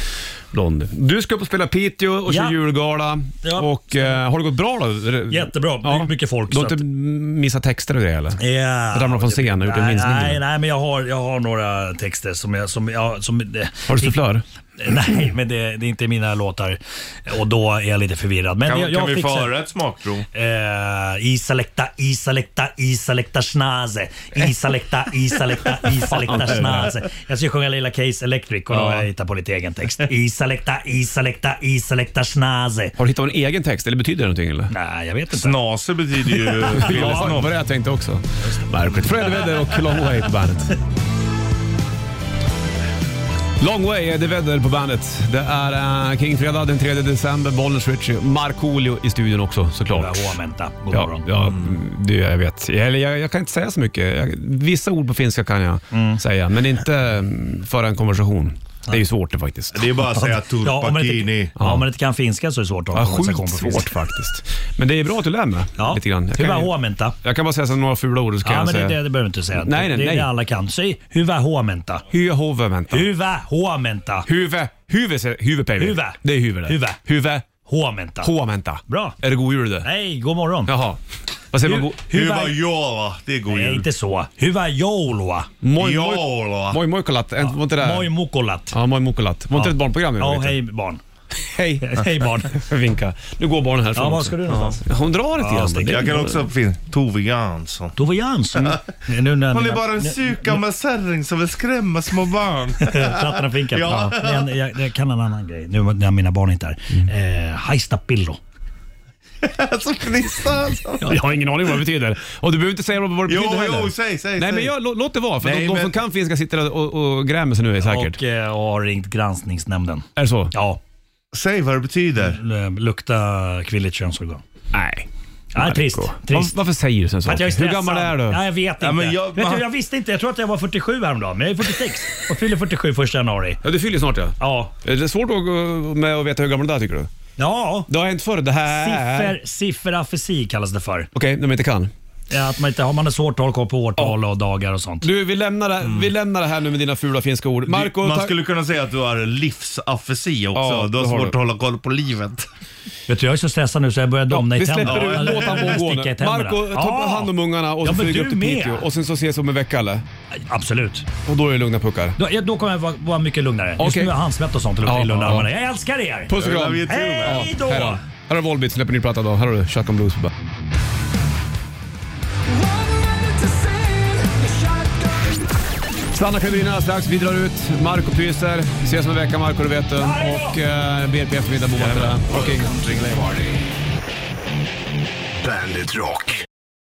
C: Blondie. Du ska upp och spela Piteå och
J: Ja.
C: köra julgala.
J: Ja.
C: Och, eh, har det gått bra då?
J: Jättebra.
C: Ja.
J: Mycket folk.
C: Du har
J: så att-
C: inte missat texter och grejer eller?
J: Ja.
C: Ramlat från scenen och gjort en
J: nej,
C: minskning?
J: nej, nej, men jag har, jag har några texter som jag... Som, jag, som,
C: Har du sufflör?
J: Nej, men det, det är inte mina låtar. Och då är jag lite förvirrad. Men
B: kan
J: jag, jag
B: kan vi få
J: fixar-
B: höra ett smakprov?
J: Eh, Isalekta, Isalekta, Isalekta Schnaze. Isalekta, Isalekta, Isalekta Schnaze. Jag ska sjunga Lilla Case Electric och då har jag hittat på lite egen text. Isalekta, Isalekta, Isalekta Schnaze.
C: Har du hittat en egen text eller betyder det någonting? Eller?
J: Nej, jag vet inte.
B: Snase betyder ju
C: ja, det var det jag tänkte också. Märkligt. Fred Vedder och Long Way på bandet. Long Way är det väder på bandet. Det är uh, Kingfredag den 3 december. Bollnäs Ritchie, Markoolio i studion också såklart.
J: Bra, Menta. God
C: ja,
J: morgon.
C: ja,
J: Mm.
C: det jag vet. Eller jag, jag kan inte säga så mycket. Jag, vissa ord på finska kan jag säga, men inte mm, föra en konversation. Det är ju svårt det faktiskt.
B: Det är bara att säga
J: Ja, om man
B: turpakini.
J: inte, ja, om man inte kan finska så är det svårt att ha
C: Ja,
J: en
C: sjukt
J: konversation på
C: svårt
J: finska.
C: faktiskt. Men det är bra att du lär mig lite grann. Jag
J: Hur
C: kan,
J: var
C: ju-
J: håmenta?
C: jag kan bara säga så några fula ord. Så kan
J: Ja,
C: jag
J: men det,
C: säga.
J: det, det behöver du inte säga.
C: Nej, nej,
J: det är
C: nej.
J: det alla kan. Säg huva håmenta.
C: Huvud, hovmenta.
J: Huva håmenta.
C: Huvud, huvud, säger- huvud, Pelle.
J: Huvud.
C: Det är huvud. det.
J: Huvud.
C: Huvud,
J: Håmenta.
C: hovmenta.
J: Bra.
C: Är det god jul det?
J: Nej, god morgon.
C: Jaha. Vad säger
J: Hu-
C: man?
J: huvud- Huva
B: jola. Det är god
J: Nej, inte så. Huva joulua.
C: Moj,
B: Jola.
C: moj, moikolat. Var inte det?
J: Moi mukolat.
C: Ja, moj mokolat. Var inte det ett barnprogram? i
J: Ja,
C: vet du?
J: hej barn.
C: Hej.
J: Hej barn.
C: Vinka. Nu går barnen härifrån
J: Ja, var
C: också.
J: ska du någonstans?
C: Ja. Hon drar lite
J: Ja,
C: grann.
J: stick.
C: Det är-
B: Jag kan också finna Tove Jansson.
J: Då var Jansson. Nu när
B: Hon är
J: mina-
B: bara en
J: nu-
B: surgammal kärring som vill skrämma små barn.
J: Plattan och finkan.
B: Ja.
J: Ja. Men jag, jag kan en annan grej nu när mina barn inte är
C: Mm.
J: här. Eh, Haista pillo.
B: Så fnissar han. så.
C: Jag har ingen aning vad det betyder. Och du behöver inte säga vad det
B: Jo,
C: betyder
B: jo,
C: heller.
B: säg, säg,
C: Nej,
B: säg.
C: men jag, lå- låt det vara. För
B: Nej,
C: de, de som
B: men-
C: kan finska sitter där och, och grämer sig nu säkert.
J: Och, eh, och har ringt granskningsnämnden.
C: Är det så?
J: Ja,
B: Säg vad det betyder.
J: l- lukta kvinnligt könsorgan.
C: Nej.
J: Nej, trist.
C: Var,
J: trist.
C: varför säger du sådana
J: För att jag är
C: saker? Hur
J: stressad.
C: gammal är du?
J: Ja, jag vet inte.
C: Ja, men jag-
J: jag, vet
C: man-
J: du, jag visste inte. Jag tror att jag var 47 häromdagen, men jag är 46 och fyller 47 första januari.
C: Ja, du fyller snart ja.
J: Ja.
C: Är det svårt att, gå med att veta hur gammal du är tycker du?
J: Ja.
C: Det har hänt förr. Det här...
J: Siffer, sifferafesi kallas det för.
C: Okej, när man inte kan.
J: Ja, att man inte, har man en svårt att hålla koll på årtal och dagar och sånt.
C: Du, vi lämnar, det, vi lämnar det här nu med dina fula finska ord. Marco,
B: Man
C: tack-
B: skulle kunna säga att du har livsafesi också.
C: Ja,
B: du har
C: det har
B: svårt
C: du.
B: att hålla koll på livet.
J: Vet du, jag är så stressad nu så jag börjar domna i
C: Vi
J: tänderna.
C: släpper
J: Ja,
C: ut, låt han
J: jag
C: få gå
J: sticker i
C: nu.
J: tänderna.
C: Marco, ta
J: Ja.
C: hand om ungarna och så
J: Ja, men
C: flyger
J: du
C: upp till
J: med.
C: Piteå och sen så ses vi om en vecka eller?
J: Absolut.
C: Och då är det lugna puckar.
J: Då, ja, då kommer jag vara, vara mycket lugnare. Just
C: Okej.
J: nu har jag handsvett och sånt och
C: Ja,
J: luktar illa under
C: ja.
J: armarna. Jag älskar er!
C: Puss och kram.
B: Hej
J: man.
C: Ja,
J: då.
C: Här Här har Volbeat, släpper ny platta idag. Här har du Chuck on Blues på bandet. Stanna Karolina strax. Vi drar ut. Marco pyser. Vi ses om en vecka Marco, det vet du. Och eh, BRP eftermiddag, Boman. Och King.
L: Bandit Rock.